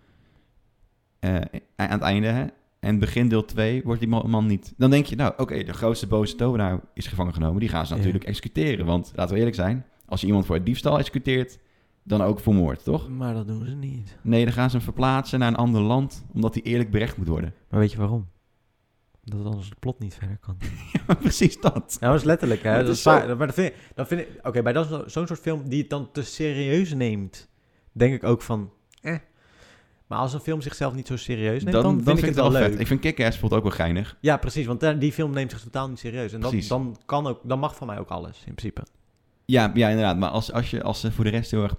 Eh, aan het einde, hè. En begin deel 2 wordt die man man niet... Dan denk je, nou, oké, de grootste boze tovenaar is gevangen genomen. Die gaan ze Ja. natuurlijk executeren. Want, laten we eerlijk zijn, als je iemand voor diefstal executeert, dan ook voor moord, toch? Maar dat doen ze niet. Nee, dan gaan ze hem verplaatsen naar een ander land, omdat hij eerlijk berecht moet worden. Maar weet je waarom? Dat anders de plot niet verder kan. Precies dat. Ja, Nou, dat is letterlijk, hè. Dat Dat, is is zo. waar. Maar dat vind ik... Dat vind ik Oké, bij dat- zo'n soort film die het dan te serieus neemt... denk ik ook van... Eh. Maar als een film zichzelf niet zo serieus neemt... dan, vind, ik het wel leuk. Ik Dus vind Kick-Ass bijvoorbeeld ook wel geinig. Ja, precies. Want daar- die film neemt zich totaal niet serieus. En dan, Precies. dan, kan ook, dan mag van mij ook alles, in principe. Ja, ja inderdaad. Maar als, als, je, als ze voor de rest heel erg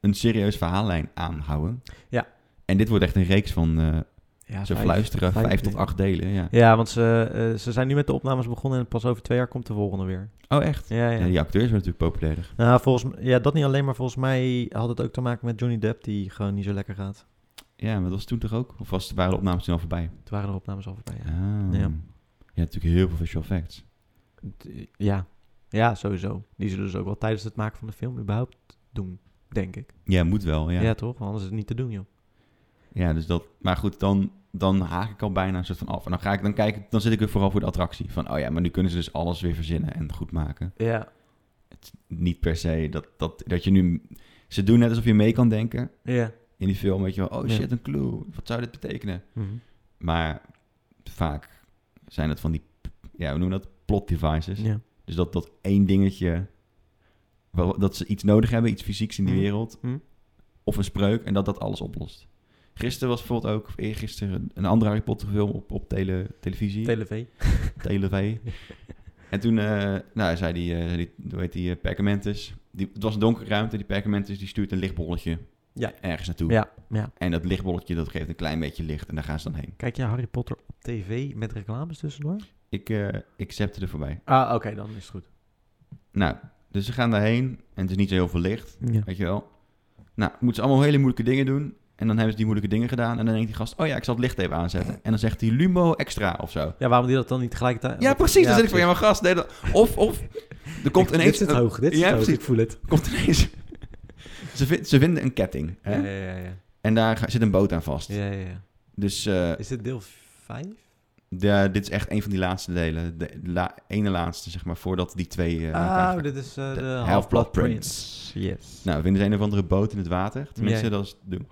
een serieus verhaallijn aanhouden. Ja. En dit wordt echt een reeks van, eh, Ja, ze fluisteren, vijf, tot acht delen. Ja. Ja, want ze, eh, ze zijn nu met de opnames begonnen... en pas over twee jaar komt de volgende weer. Oh, echt? Ja, ja. Ja, die acteurs zijn natuurlijk populair. Nou, volgens, m- ja, dat niet alleen, maar volgens mij had het ook te maken met Johnny Depp... die gewoon niet zo lekker gaat. Ja, maar dat was toen toch ook? Of was, waren de opnames toen al voorbij? Toen waren de opnames al voorbij, ja. Ah. Ja. Je hebt natuurlijk heel veel visual effects. D- eh, Ja. ja, sowieso. Die zullen ze ook wel tijdens het maken van de film überhaupt doen, denk ik. Ja, moet wel. Ja, Ja. Ja. toch? Want Anders is het niet te doen, joh. dus dat, maar goed, dan, dan haak ik al bijna een soort van af. En dan, ga ik, dan, kijk, ik- dan zit ik weer vooral voor de attractie. Van, oh ja, maar nu kunnen ze dus alles weer verzinnen en goed maken. Ja. niet per se dat, dat, dat je nu... Ze doen net alsof je mee kan denken Ja. in die film. Weet je wel, oh Ja. shit, een clue. Wat zou dit betekenen? Maar vaak zijn het van die... Ja, hoe noemen we dat? Plot devices. ja. Dus dat, dat één dingetje... wel- Dat ze iets nodig hebben, iets fysieks in die Mhm. wereld. Mhm. Of een spreuk. En dat dat alles oplost. Gisteren was bijvoorbeeld ook... Of eergisteren een andere Harry Potter film op, op tele, televisie. Telev. Televee. en toen eh, nou, zei die, eh, die, hoe heet die, eh, Perkamentus... Die, het was een donkere ruimte. Die Perkamentus die stuurt een lichtbolletje Ja. ergens naartoe. Ja, ja. En dat lichtbolletje, dat geeft een klein beetje licht en daar gaan ze dan heen. Kijk je Harry Potter op tv met reclames tussendoor? Ik eh accepte er voorbij. Ah, oké, dan is het goed. Nou, dus ze gaan daarheen en het is niet zo heel veel licht, Ja. weet je wel. Nou, moeten ze allemaal hele moeilijke dingen doen. En dan hebben ze die moeilijke dingen gedaan. En dan denkt die gast, oh ja, ik zal het licht even aanzetten. En dan zegt hij Lumo extra of zo. ja, waarom die dat dan niet tegelijkertijd... Ja, precies. dan zit ik van, ja, maar gast. nee, dat- of, of, er komt Ik- ineens... Dit zit hoog, dit Ja, zit hoog, precies. ik voel het. er komt ineens ze, vind- ze vinden een ketting. Hè? Ja, ja, ja, ja. En daar ga- zit een boot aan vast. ja, ja, ja. Dus eh, Is dit deel 5? de- dit is echt een van die laatste delen. De, la- ene laatste, zeg maar, voordat die twee... eh, aan elkaar Ah, gaan. dit is eh, de de, Half-Blood Half-Blood Prince. Prince. Yes. Nou, vinden ze een of andere boot in het water. Tenminste, Ja. dat is het doel.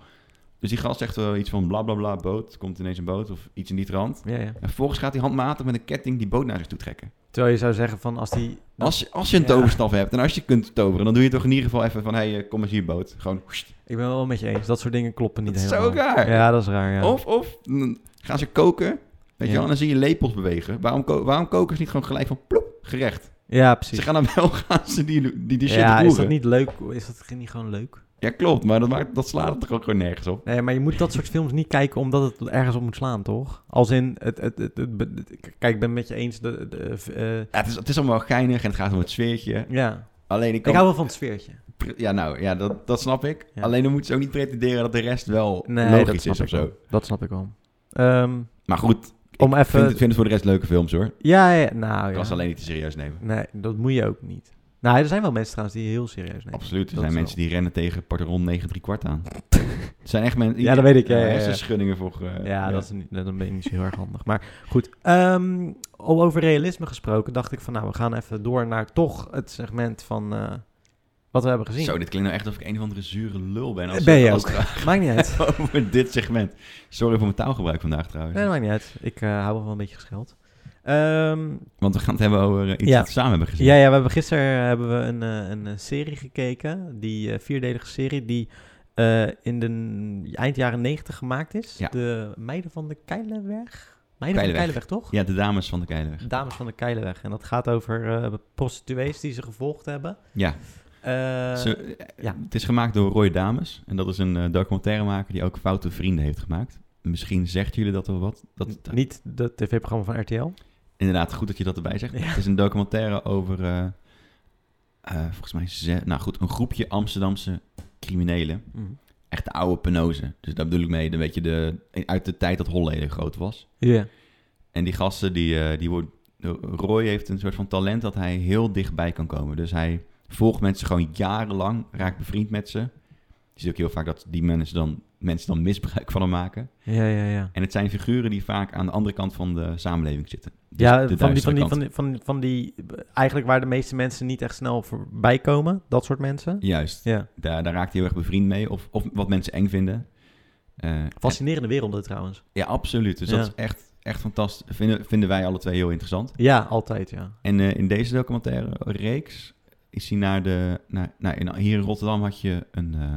Dus die gast zegt wel iets van bla bla bla boot. Komt ineens een boot of iets in die trant. Ja, ja. En vervolgens gaat hij handmatig met een ketting die boot naar zich toe trekken. Terwijl je zou zeggen van als die... Als, je- als je een Ja. toverstaf hebt en als je kunt toveren, dan doe je toch in ieder geval even van... Hé, hey, eh, kom eens hier boot. Gewoon... wst. nou, Ik ben wel met je eens, dat soort dingen kloppen niet Dat is zo helemaal. raar. Ja, dat is raar, ja. Of, of mm, gaan ze koken, weet je Ja. wel, en dan zie je lepels bewegen. Waarom, ko- waarom koken ze niet gewoon gelijk van ploep, gerecht? Ja, Ze precies. gaan dan wel gaan ze die, die, die shit ja, roeren. is dat niet leuk? Is dat niet gewoon leuk? Ja, klopt, maar dat, maakt, dat slaat het toch ook gewoon nergens op? Nee, maar je moet dat soort films niet kijken omdat het ergens op moet slaan, toch? Als in, het, het, het, het- het- kijk, ik ben met je eens. De, de, eh, Ja, het, is, het is allemaal wel geinig en het gaat om het sfeertje. ja, Alleen ik ik kan... hou wel van het sfeertje. pr- Ja, nou, ja, dat, dat snap ik. Ja. Alleen dan moeten ze ook niet pretenderen dat de rest wel logisch is of zo. wel. Dat snap ik wel. Ehm, Maar goed, om ik vind, even... het- vind het voor de rest leuke films hoor. Ja, ja, nou Eh, Ik ja. kan ze alleen niet te serieus nemen. Nee, dat moet je ook niet. Nou, er zijn wel mensen trouwens die heel serieus nemen. Absoluut, er dat zijn is mensen die rennen tegen Parteron 9 3 kwart aan. Het zijn echt mensen... Ja, dat weet ik, ja, Ja, ja, ja. hersenschuddingen voor... eh, Ja, Dat is niet, dan ben je niet zo heel erg handig. Maar goed, ehm, al over realisme gesproken dacht ik van... nou, we gaan even door naar toch het segment van eh, wat we hebben gezien. Zo, dit klinkt nou echt of ik een of andere zure lul ben. Als Ben je als ook. het gaat Maakt niet uit. over dit segment. Sorry voor mijn taalgebruik vandaag trouwens. Nee, dat maakt niet uit. Ik eh, hou wel van een beetje gescheld. Ehm, Want we gaan het hebben over eh, iets Ja. dat we samen hebben gezien. ja, ja, we hebben gisteren hebben we een, eh, een eh, serie gekeken. Die eh, vierdelige serie die eh, in de n- eind jaren negentig gemaakt is. Ja. De Meiden van de Keilenweg. Meiden van de Keilenweg. Keilenweg, toch? Ja, de dames van de Keilenweg. Dames van de Keilenweg. En dat gaat over eh, prostituees die ze gevolgd hebben. Ja, Eh, ze- eh, ja. het is gemaakt door Roy Dames. En dat is een eh, documentairemaker die ook Foute Vrienden heeft gemaakt. Misschien zegt jullie dat wel wat. Dat, n- niet het tv-programma van RTL. Inderdaad, goed dat je dat erbij zegt. Ja. Het is een documentaire over, eh, eh, volgens mij, ze- nou goed, een groepje Amsterdamse criminelen. Echt de oude penozen. Dus daar bedoel ik mee, een beetje de, uit de tijd dat Holleden groot was. Ja. En die gasten, die, eh, die worden, Roy heeft een soort van talent dat hij heel dichtbij kan komen. Dus hij volgt mensen gewoon jarenlang, raakt bevriend met ze. Je ziet ook heel vaak dat die mensen dan, mensen dan misbruik van hem maken. Ja, ja, ja. En het zijn figuren die vaak aan de andere kant van de samenleving zitten. Dus Ja, de van die, van, duistere die, kant. van, die, van, van die, eh, eigenlijk waar de meeste mensen niet echt snel voorbij komen, dat soort mensen. Juist, Ja, daar, daar raakt hij heel erg bevriend mee. Of, of wat mensen eng vinden. Eh, fascinerende werelden trouwens. en- ja, absoluut. Dus Ja. dat is echt, echt fantastisch. Vinden, vinden wij alle twee heel interessant. Ja, altijd, ja. En eh, in deze documentaire reeks is hij naar de... Naar, nou, in, hier in Rotterdam had je een, eh,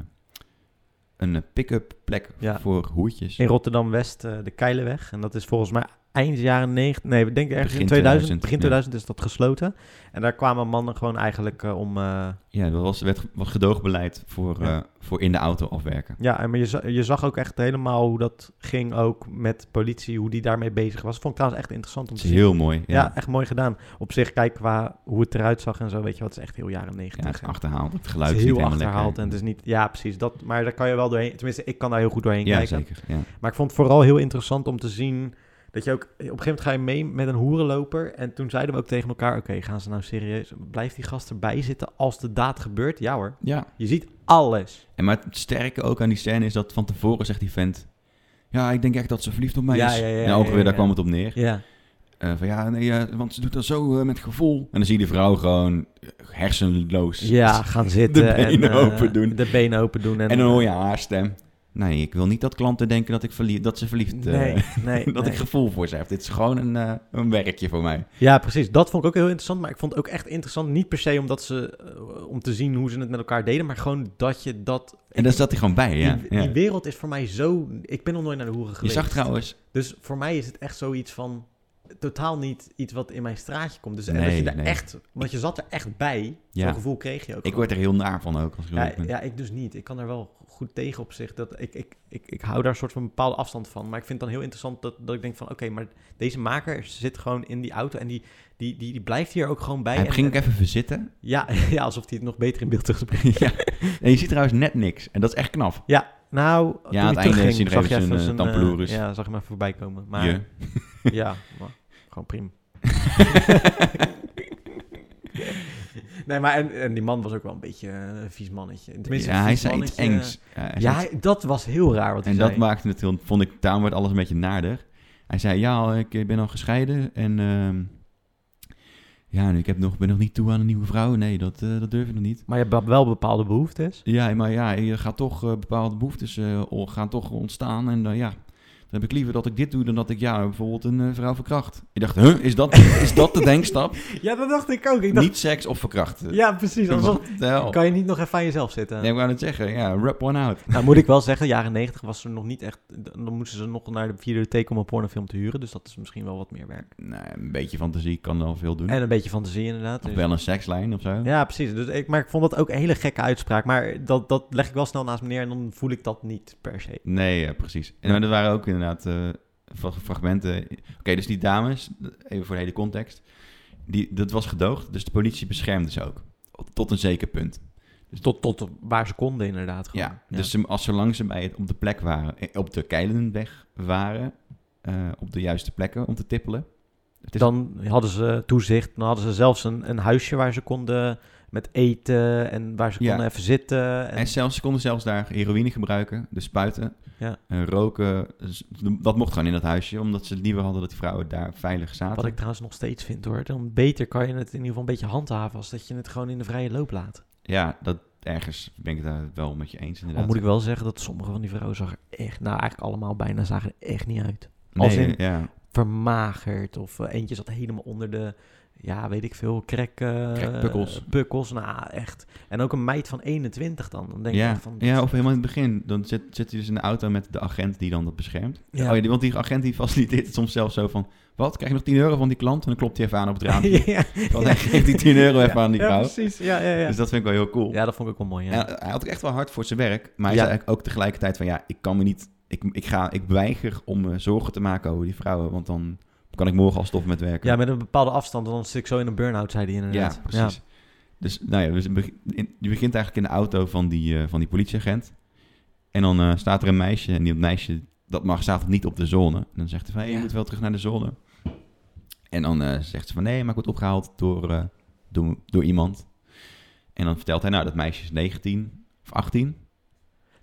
een eh, pick-up plek Ja. voor hoertjes. In Rotterdam-West, eh, de Keilenweg. En dat is volgens mij eind jaren 90, nee, we denken ergens Begin in 2000. 2000, begin ja. 2000 is dat gesloten. En daar kwamen mannen gewoon eigenlijk eh, om... eh, Ja, dat was, werd, was gedoogbeleid voor, Ja. eh, voor in de auto afwerken. Ja, en maar je, za- je zag ook echt helemaal hoe dat ging ook met politie, hoe die daarmee bezig was. Vond ik trouwens echt interessant om Dat te is zien. heel mooi. ja. Ja, echt mooi gedaan. Op zich, kijk qua hoe het eruit zag en zo, weet je wat, het is echt heel jaren ja het negentig. is achterhaald. Het het geluid is is niet heel helemaal achterhaald lekker. en het is niet... Ja, precies. Dat, maar daar kan je wel doorheen... Tenminste, ik kan daar heel goed doorheen ja, kijken. zeker. Ja. Maar ik vond het vooral heel interessant om te zien dat je ook... Op een gegeven moment ga je mee met een hoerenloper. En toen zeiden we ook tegen elkaar, oké, gaan ze nou serieus... Blijft die gast erbij zitten als de daad gebeurt? Ja hoor, ja. je ziet alles. En maar het sterke ook aan die scène is dat van tevoren zegt die vent... Ja, ik denk echt dat ze verliefd op mij Ja, is. ja, ja, en ongeveer ja, ja, daar ja. kwam het op neer. Ja, Eh, van ja, nee, eh, want ze doet dat zo eh, met gevoel. En dan zie je die vrouw gewoon eh, hersenloos. ja gaan zitten. benen en, eh, open doen. De benen open doen. En, En dan hoor je haar stem. Nee, ik wil niet dat klanten denken dat, ik verlie- dat ze verliefd... eh, Nee, nee, dat nee. ik gevoel voor ze heb. Dit is gewoon een, eh, een werkje voor mij. Ja, precies. Dat vond ik ook heel interessant. Maar ik vond het ook echt interessant. Niet per se omdat ze, eh, om te zien hoe ze het met elkaar deden. Maar gewoon dat je dat... En daar zat hij gewoon bij, ja. die, ja. die wereld is voor mij zo... Ik ben nog nooit naar de hoeren Je geweest. zag trouwens... Dus voor mij is het echt zoiets van... totaal niet iets wat in mijn straatje komt. Dus en Nee, dat je daar nee. echt, want je zat er echt bij, Ja. zo'n gevoel kreeg je ook. Ik gewoon. word er heel naar van ook. Als ik heel eerlijk ja, ben. ja, ik dus niet. Ik kan er wel goed tegen op zich. Dat ik, ik, ik, ik hou daar een soort van bepaalde afstand van. Maar ik vind het dan heel interessant dat, dat ik denk van... oké, maar deze maker zit gewoon in die auto... en die, die, die, die blijft hier ook gewoon bij. Hij En- eh, ging ook even verzitten. ja, ja, alsof hij het nog beter in beeld terugbrengt. ja. En je ziet trouwens net niks. En dat is echt knap. Nou, toen aan hij het einde terugging, zie je nog zag even zijn, eh, eh, tampeloeris. Ja, zag hem even voorbij komen. Maar Je. ja, maar gewoon prima. nee, maar en, en die man was ook wel een beetje eh, een vies mannetje. Tenminste, eh, een Ja, hij vies zei iets mannetje. engs. Ja, hij Ja, zei iets- hij- dat was heel raar wat hij en dat zei. maakte het heel, vond ik, daarom werd alles een beetje naarder. Hij zei, ja, ik ben al gescheiden en ehm, ja, en ik heb nog, ben nog niet toe aan een nieuwe vrouw. Nee, dat, eh, dat durf ik nog niet. Maar je hebt wel bepaalde behoeftes. Ja, maar ja, je gaat toch eh, bepaalde behoeftes eh, o- gaan toch ontstaan en eh, ja, dan heb ik liever dat ik dit doe dan dat ik ja, bijvoorbeeld een eh, vrouw verkracht. Ik dacht, huh, is dat, is dat de denkstap? Ja, dat dacht ik ook. Ik dacht, Niet seks of verkrachten. ja, precies. Alsof, Wat de hel? kan je niet nog even aan jezelf zitten? Nee, ik wou het zeggen, ja, rap one out. Nou moet ik wel zeggen, jaren 90 was er nog niet echt... Dan moesten ze nog naar de videotheek om een pornofilm te huren. Dus dat is misschien wel wat meer werk. Nee, een beetje fantasie kan al veel doen. En een beetje fantasie inderdaad. Of Dus- wel een sekslijn of zo. Ja, precies. Dus ik, maar ik vond dat ook een hele gekke uitspraak. Maar dat, dat leg ik wel snel naast me neer en dan voel ik dat niet per se. Nee, ja, precies. En maar er waren ook inderdaad eh, fra- fragmenten. Oké, dus die dames, even voor de hele context. Die, dat was gedoogd, dus de politie beschermde ze ook. Tot een zeker punt. Tot, tot waar ze konden inderdaad. Gewoon. Ja, dus ze, als zolang ze bij het, op de plek waren, eh, op de Keilenweg waren, eh, op de juiste plekken om te tippelen. Het is- Dan hadden ze toezicht. Dan hadden ze zelfs een, een huisje waar ze konden met eten en waar ze Ja. konden even zitten. En, en zelfs, ze konden zelfs daar heroïne gebruiken, dus spuiten, Ja. eh, roken. Dus dat mocht gewoon in dat huisje, omdat ze het liever hadden dat die vrouwen daar veilig zaten. wat ik trouwens nog steeds vind hoor. Dan beter kan je het in ieder geval een beetje handhaven als dat je het gewoon in de vrije loop laat. Ja, dat ergens ben ik het daar wel met je eens inderdaad. Al Oh, moet ik wel zeggen dat sommige van die vrouwen zag er echt, nou eigenlijk allemaal bijna zagen er echt niet uit. Als Nee, in- ja. vermagerd. Of eh, eentje zat helemaal onder de, ja, weet ik veel, krek... eh, Krekpukkels. pukkels, nou echt. En ook een meid van 21 dan. Dan denk je Ja, van... ja, of helemaal in het begin. Dan zit, zit hij dus in de auto met de agent die dan dat beschermt. Ja. Oh, ja, die- want die agent die faciliteert het soms zelfs zo van... Wat, krijg je nog 10 euro van die klant? En dan klopt hij even aan op het raam. ja, Want hij geeft die 10 euro even aan die ja, vrouw. precies. Ja, ja, ja. Dus dat vind ik wel heel cool. ja, dat vond ik ook wel mooi, ja. En eh, hij had ook echt wel hard voor zijn werk. Maar hij Ja. zei eigenlijk ook tegelijkertijd van... Ja, ik kan me niet... Ik, ik, ga, ik weiger om me zorgen te maken over die vrouwen. Want dan kan ik morgen al stoppen met werken. Ja, met een bepaalde afstand, want dan zit ik zo in een burn-out, zei hij inderdaad. Ja, precies. Dus nou ja, dus het beg- in- je begint eigenlijk in de auto van die, eh, van die politieagent. En dan eh, staat er een meisje en die, dat meisje dat mag, staat niet op de zone. En dan zegt hij van, hey, je Ja. moet wel terug naar de zone. En dan eh, zegt ze van, nee, maar ik word opgehaald door, eh, door, door iemand. En dan vertelt hij, nou, dat meisje is 19 of 18.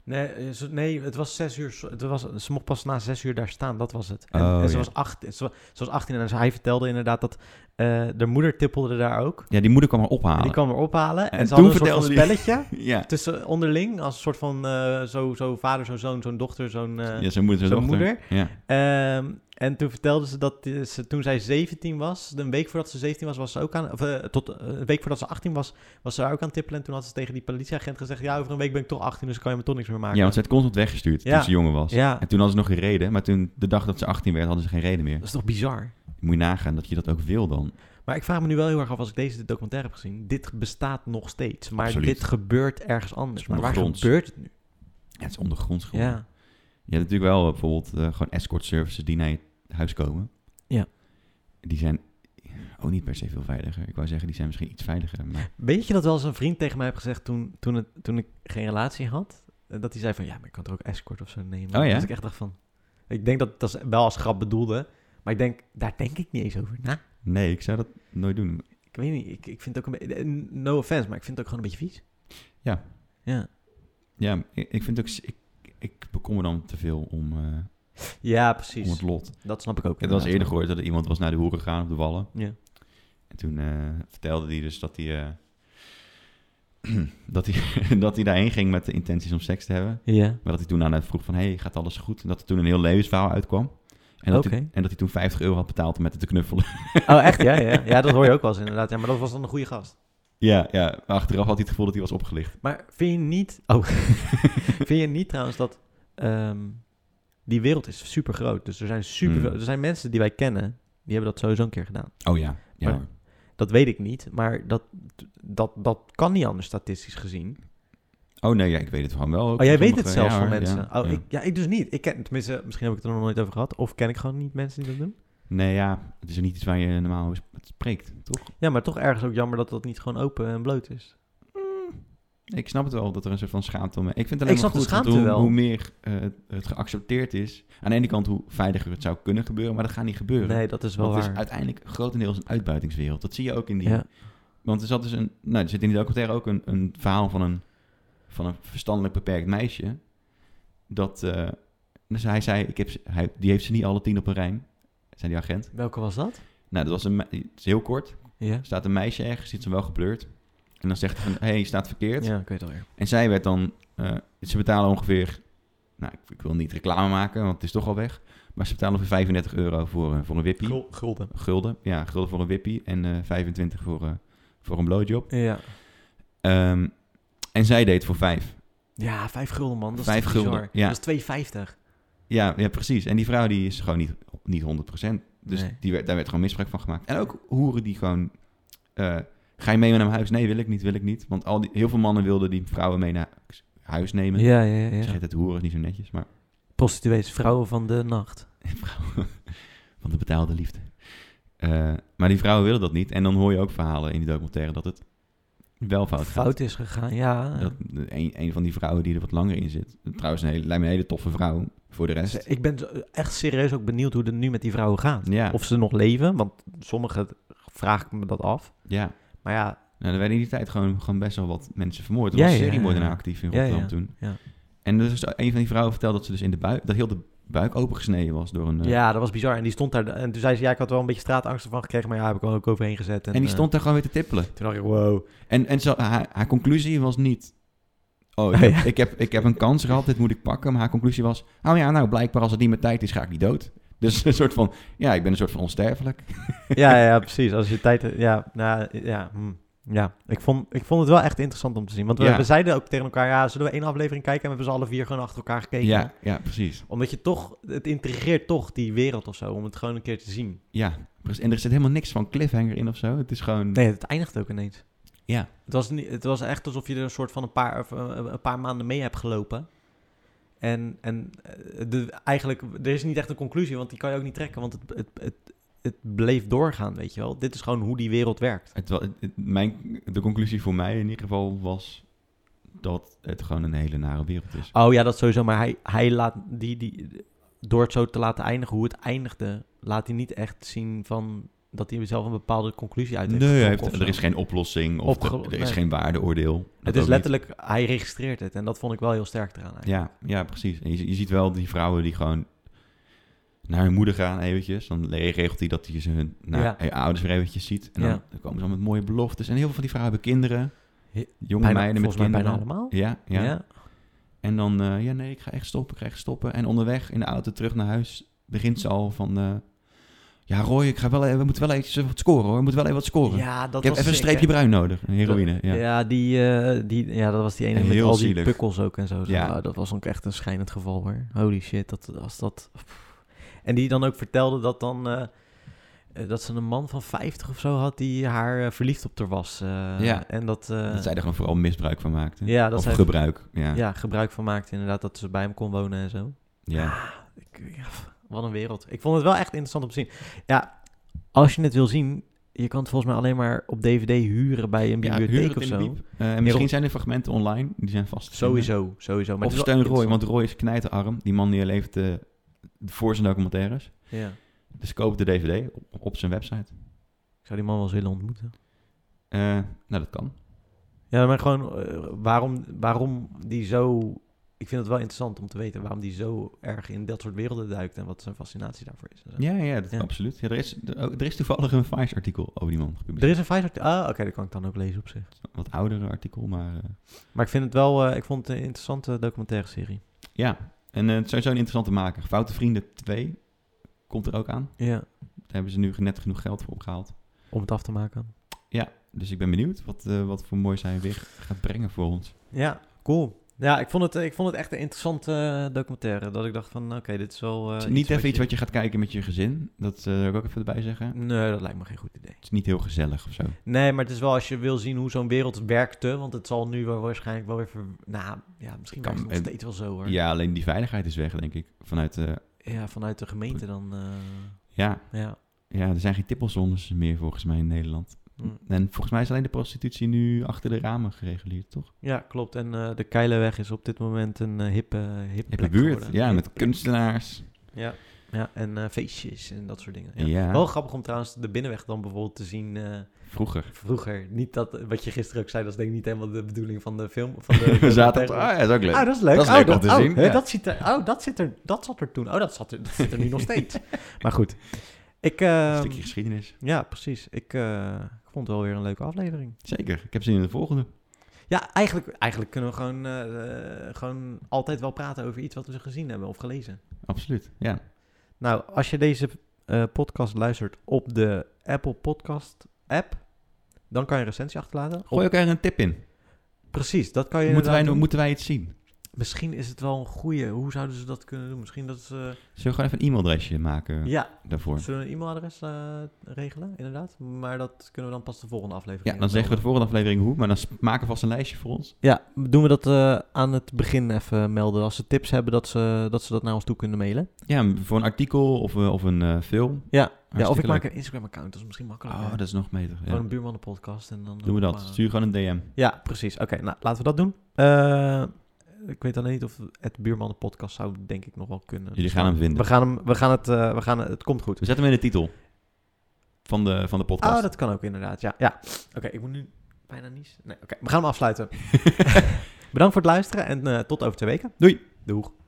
Nee, eh, ze- nee, het was zes uur. Het was, ze mocht pas na zes uur daar staan, dat was het. En, Oh, en ze, ja. was acht, ze, wa- ze was 18 en hij vertelde inderdaad dat eh de moeder tippelde daar ook. Ja, die moeder kwam haar En ophalen. die kwam er ophalen. En, En ze toen hadden een soort van vertelde spelletje. Ja, Tussen onderling, als een soort van eh, zo, zo vader, zo zoon, zo'n dochter, zo'n... eh, ja zijn moeder en zijn dochter. moeder? Ja. ehm, en toen vertelde ze dat die- ze, toen zij 17 was, een week voordat ze 17 was, was ze ook aan... Of, eh, tot, eh, een week voordat ze 18 was, was ze daar ook aan het tippelen. En toen had ze tegen die politieagent gezegd, ja, over een week ben ik toch 18, dus kan je me toch niks meer maken. ja, want ze werd constant weggestuurd Ja. toen ze jonger was. Ja. En toen hadden ze nog een reden, maar toen de dag dat ze 18 werd, hadden ze geen reden meer. Dat is toch bizar? Moet je nagaan dat je dat ook wil dan. Maar ik vraag me nu wel heel erg af, als ik deze documentaire heb gezien, dit bestaat nog steeds. Maar Absoluut. dit gebeurt ergens anders. Maar waar Ondergronds. gebeurt het nu? Ja, het is ondergronds gewoon. Ja. Je hebt natuurlijk wel eh, bijvoorbeeld eh, gewoon escort services die naar je huis komen. Ja. Die zijn ook niet per se veel veiliger. Ik wou zeggen, die zijn misschien iets veiliger. Maar Weet je dat wel eens een vriend tegen mij heeft gezegd toen, toen, het, toen ik geen relatie had? Eh, Dat hij zei van, ja, maar ik kan toch ook escort of zo nemen? Oh ja? Dus ik echt dacht van... Ik denk dat dat wel als grap bedoelde. Maar ik denk, daar denk ik niet eens over na. nee, ik zou dat nooit doen. Ik weet niet, ik, ik vind het ook een beetje... eh, No offense, maar ik vind het ook gewoon een beetje vies. Ja. Ja, Ja, ik, ik vind ook... s- Ik, ik bekom me dan te veel om, eh, ja om precies. het lot. Dat snap ik ook. Ik had al eens eerder inderdaad. gehoord dat er iemand was naar de hoeren gegaan op de Wallen. Ja. En toen eh, vertelde hij dus dat hij... eh, dat, hij, dat hij daarheen ging met de intenties om seks te hebben. Ja. Maar dat hij toen aan het vroeg van, hey, gaat alles goed? En dat er toen een heel levensverhaal uitkwam. En dat, hij, Oké. en dat hij toen 50 euro had betaald om met het te knuffelen. Oh, echt? Ja, ja. ja, dat hoor je ook wel eens inderdaad. Ja, maar dat was dan een goede gast. ja, ja. Maar achteraf had hij het gevoel dat hij was opgelicht. Maar vind je niet... Oh. vind je niet trouwens dat... ehm, die wereld is super groot. Dus er zijn, super, Mm. er zijn mensen die wij kennen... Die hebben dat sowieso een keer gedaan. Oh ja, ja Maar- hoor. Dat weet ik niet, maar dat, dat, dat kan niet anders statistisch gezien. Oh nee, ja, ik weet het gewoon wel. ook Oh, jij van weet het sommige- zelfs ja, van hoor, mensen. ja, oh, ja. Ik, ja, ik dus niet. Ik ken, tenminste, misschien heb ik het er nog nooit over gehad. Of ken ik gewoon niet mensen die dat doen. Nee, ja, het is niet iets waar je normaal over sp- spreekt, toch? Ja, maar toch ergens ook jammer dat dat niet gewoon open en bloot is. Ik snap het wel dat er een soort van schaamte om... Ik vind Ik het alleen snap maar de goed dat schaamte hoe, wel. hoe meer eh, het geaccepteerd is. Aan de ene kant hoe veiliger het zou kunnen gebeuren, maar dat gaat niet gebeuren. Nee, dat is wel Want het waar. is uiteindelijk grotendeels een uitbuitingswereld. Dat zie je ook in die... Ja. Want er zat dus een... Nou, er zit in die documentaire ook een, een verhaal van een, van een verstandelijk beperkt meisje. Dat... eh, dus hij zei, ik heb, ze- hij, die heeft ze niet alle tien op een rij, zei die agent. Welke was dat? Nou, dat was een... me- Het is heel kort. Ja. staat een meisje ergens, zit ze wel gebleurd. En dan zegt hij van, hé, hey, je staat verkeerd. Ja, ik weet het alweer. En zij werd dan, eh, ze betalen ongeveer, nou, ik, ik wil niet reclame maken, want het is toch al weg. Maar ze betalen ongeveer 35 euro voor, eh, voor een wippie. Gulden. Gulden, ja, gulden voor een wippie en eh 25 voor, eh, voor een blowjob. Ja. Ehm, en zij deed voor vijf. Ja, vijf gulden, man. Dat is Vijf toch gulden, bizar? ja. Dat is 2,50. Ja, ja, precies. En die vrouw die is gewoon niet, niet 100%. Dus Nee. die werd, daar werd gewoon misbruik van gemaakt. En ook hoeren die gewoon... eh, ga je mee naar mijn huis? Nee, wil ik niet, wil ik niet. Want al die, heel veel mannen wilden die vrouwen mee naar huis nemen. Ze Ja, ja, Zeg het, hoeren is niet zo netjes, maar Prostituees, vrouwen van de nacht. vrouwen van de betaalde liefde. Eh, maar die vrouwen willen dat niet. En dan hoor je ook verhalen in die documentaire dat het wel fout gaat. Fout is gegaan, ja. Dat een, een van die vrouwen die er wat langer in zit. Trouwens, een hele, lijkt me een hele toffe vrouw voor de rest. Dus Ik ben zo- echt serieus ook benieuwd hoe het nu met die vrouwen gaat. Ja, Of ze nog leven, want sommigen vraag ik me dat af. ja. Maar ja, Nou, er werden in die tijd gewoon, gewoon best wel wat mensen vermoord. Er Ja, was een ja, seriemoordenaar ja. actief in Ja, Rotterdam ja, toen. ja. En dus is een van die vrouwen vertelde dat ze dus in de buik... dat heel de buik opengesneden was door een... eh, ja, dat was bizar. En die stond daar. En toen zei ze, ja, ik had wel een beetje straatangst ervan gekregen, maar ja, heb ik wel ook overheen gezet. En, en die eh, stond daar gewoon weer te tippelen. toen dacht ik, wow. En, en zo, haar, haar conclusie was niet... Oh, ik heb, Ja. ik, heb, ik heb een kans gehad, dit moet ik pakken. Maar haar conclusie was... Oh ja, nou, blijkbaar als het niet mijn tijd is, ga ik niet dood. Dus een soort van... Ja, ik ben een soort van onsterfelijk. Ja, ja, precies. Als je tijd... Ja, nou, ja, hm. ja. Ik, vond, ik vond het wel echt interessant om te zien. Want we, Ja. we zeiden ook tegen elkaar, ja, zullen we één aflevering kijken? En we hebben ze alle vier gewoon achter elkaar gekeken. Ja, ja, precies. Omdat je toch, het intrigeert toch die wereld of zo, om het gewoon een keer te zien. Ja, precies. En er zit helemaal niks van cliffhanger in of zo. Het is gewoon... Nee, het eindigt ook ineens. Ja. Het was, niet, het was echt alsof je er een soort van een paar, of, eh, een paar maanden mee hebt gelopen. En, en eh, de, eigenlijk, er is niet echt een conclusie, want die kan je ook niet trekken, want het, het, het, het bleef doorgaan, weet je wel. Dit is gewoon hoe die wereld werkt. Het, wa- het- het- mijn, de conclusie voor mij in ieder geval was dat het gewoon een hele nare wereld is. Oh ja, dat sowieso, maar hij, hij laat die, die, door het zo te laten eindigen hoe het eindigde, laat hij niet echt zien van dat hij zelf een bepaalde conclusie uit heeft nee, hij getrokken heeft- of er is zo. geen oplossing of Opgelo- er, er is nee. geen waardeoordeel. Dat Het ook is niet. letterlijk, hij registreert het en dat vond ik wel heel sterk eraan. eigenlijk. Ja, ja, precies. En je, zie- je ziet wel die vrouwen die gewoon naar hun moeder gaan eventjes. Dan le- regelt hij dat hij ze hun naar Ja. hun ouders weer eventjes ziet. En dan, Ja. dan komen ze al met mooie beloftes. En heel veel van die vrouwen hebben kinderen. He- Jonge Bijna- meiden met volgens mij kinderen. bijna allemaal. Ja, ja. ja. En dan, eh, ja nee, ik ga echt stoppen, ik ga echt stoppen. En onderweg in de auto terug naar huis begint ze al van... eh, ja Roy, ik ga wel, e- we moeten wel even wat scoren hoor. We moeten wel even wat scoren. Ja, dat ik heb was even een sick, streepje hè? bruin nodig. Een heroïne, ja. Ja, die, eh, die, ja, dat was die ene En met heel al die zielig. pukkels ook en zo. Ja. Ja. dat was ook echt een schijnend geval hoor. Holy shit, dat, als dat... pff. En die dan ook vertelde dat dan... eh, eh, dat ze een man van 50 of zo had die haar eh, verliefd op haar was. eh, Ja. En dat... eh, Dat zij er gewoon vooral misbruik van maakte. ja, dat of zij gebruik, ja. ja. ja, gebruik van maakte inderdaad, dat ze bij hem kon wonen en zo. Ah, Ik- ja, pff, wat een wereld. Ik vond het wel echt interessant om te zien. Ja, als je het wil zien... Je kan het volgens mij alleen maar op DVD huren bij een Ja, bibliotheek huur het of in de zo. bieb. Eh, en misschien zijn er fragmenten online, die zijn vast. te vinden. Sowieso, sowieso. Maar Of het is wel steun Roy, interessant. want Roy is knijterarm. Die man die leeft eh, voor zijn documentaires. Ja. Dus koop de dvd op, op zijn website. Ik zou die man wel eens willen ontmoeten. Eh, nou, dat kan. Ja, maar gewoon eh, waarom, waarom die zo... Ik vind het wel interessant om te weten waarom die zo erg in dat soort werelden duikt en wat zijn fascinatie daarvoor is. en zo. Ja, ja, dat, Ja. absoluut. Ja, er, is, er, er is toevallig een Vice-artikel over die man Er gepubliceerd. is een Pfizer... Ah, oké, dat kan ik dan ook lezen op zich. Een wat oudere artikel, maar eh, Maar ik vind het wel... eh, ik vond het een interessante documentaire serie. ja. En eh, het is sowieso een interessante maker. Foute Vrienden 2 komt er ook aan. Ja, Daar hebben ze nu net genoeg geld voor opgehaald. om het af te maken. Dus ik ben benieuwd wat, eh, wat voor mooi zij weer gaat brengen voor ons. Ja, cool. Ja, ik vond, het, eh, ik vond het echt een interessante eh, documentaire. Dat ik dacht van, oké, dit is wel... eh, Het is niet even iets je- wat je gaat kijken met je gezin. Dat eh wil ik ook even erbij zeggen. Nee, dat lijkt me geen goed idee. Het is niet heel gezellig of zo. Nee, maar het is wel als je wil zien hoe zo'n wereld werkte. Want het zal nu wel waarschijnlijk wel weer... ver- Nou, ja, misschien Kan- kan het nog eh, steeds wel zo hoor. Ja, Ja, alleen die veiligheid is weg, denk ik. Vanuit, eh, vanuit de gemeente dan... eh, ja, ja. ja, er zijn geen tippelzones meer volgens mij in Nederland. Hm. En volgens mij is alleen de prostitutie nu achter de ramen gereguleerd, toch? ja, klopt. En eh, de Keilerweg is op dit moment een eh, hippe, hippe In de plek buurt, geworden. ja, Hip met plek. kunstenaars. Ja, ja en eh, feestjes en dat soort dingen. Ja. Ja. Wel grappig om trouwens de binnenweg dan bijvoorbeeld te zien... eh, vroeger. vroeger. Niet dat, wat je gisteren ook zei, dat is denk ik niet helemaal de bedoeling van de film. Van de, We zaten op, ah documentaire. ja, dat Ah, dat is is ook leuk. leuk. Dat is oh, leuk om dat, te oh, zien, hè, ja. dat, zit er, oh, dat, zit er, dat zat er toen. Oh, dat zat er, dat zit er nu nog steeds. Maar goed, ik... Een ehm, stukje geschiedenis. ja, precies. Ik, eh, ik vond het wel weer een leuke aflevering. Zeker, ik heb zin in de volgende. Ja, eigenlijk, eigenlijk kunnen we gewoon, eh, eh, gewoon altijd wel praten over iets wat we gezien hebben of gelezen. Absoluut, ja. Nou, als je deze eh, podcast luistert op de Apple Podcast app, dan kan je een recensie achterlaten. Gooi elkaar een tip in. Precies, dat kan je moeten, wij, inderdaad no- doen. moeten wij het zien? Misschien is het wel een goede. Hoe zouden ze dat kunnen doen? Misschien dat ze. Zullen we gewoon even een e-mailadresje maken ja, daarvoor? zullen we een e-mailadres eh, regelen, inderdaad. Maar dat kunnen we dan pas de volgende aflevering. Ja, dan zeggen we melden. de volgende aflevering hoe, maar dan s- maken we vast een lijstje voor ons. Ja, doen we dat eh, aan het begin even melden. Als ze tips hebben, dat ze dat, ze dat naar ons toe kunnen mailen. Ja, m- voor een artikel of, eh, of een eh, film. Ja, ja of Hartstikke ik maak leuk. een Instagram-account. Dat is misschien makkelijker. Oh, dat is nog beter. ja. Gewoon een buurman podcast en dan. Doen we dat. maar- Stuur gewoon een DM. Ja, precies. Oké, nou laten we dat doen. Eh, ik weet alleen niet of het buurmannen podcast zou denk ik nog wel kunnen. Dus Jullie gaan hem vinden. We gaan hem, we gaan het, eh, we gaan het, het komt goed. We zetten hem in de titel van de, van de podcast. Oh, dat kan ook inderdaad. Ja, ja. Oké, ik moet nu bijna niet. Nee, oké. We gaan hem afsluiten. Bedankt voor het luisteren en eh, tot over twee weken. Doei. Doeg.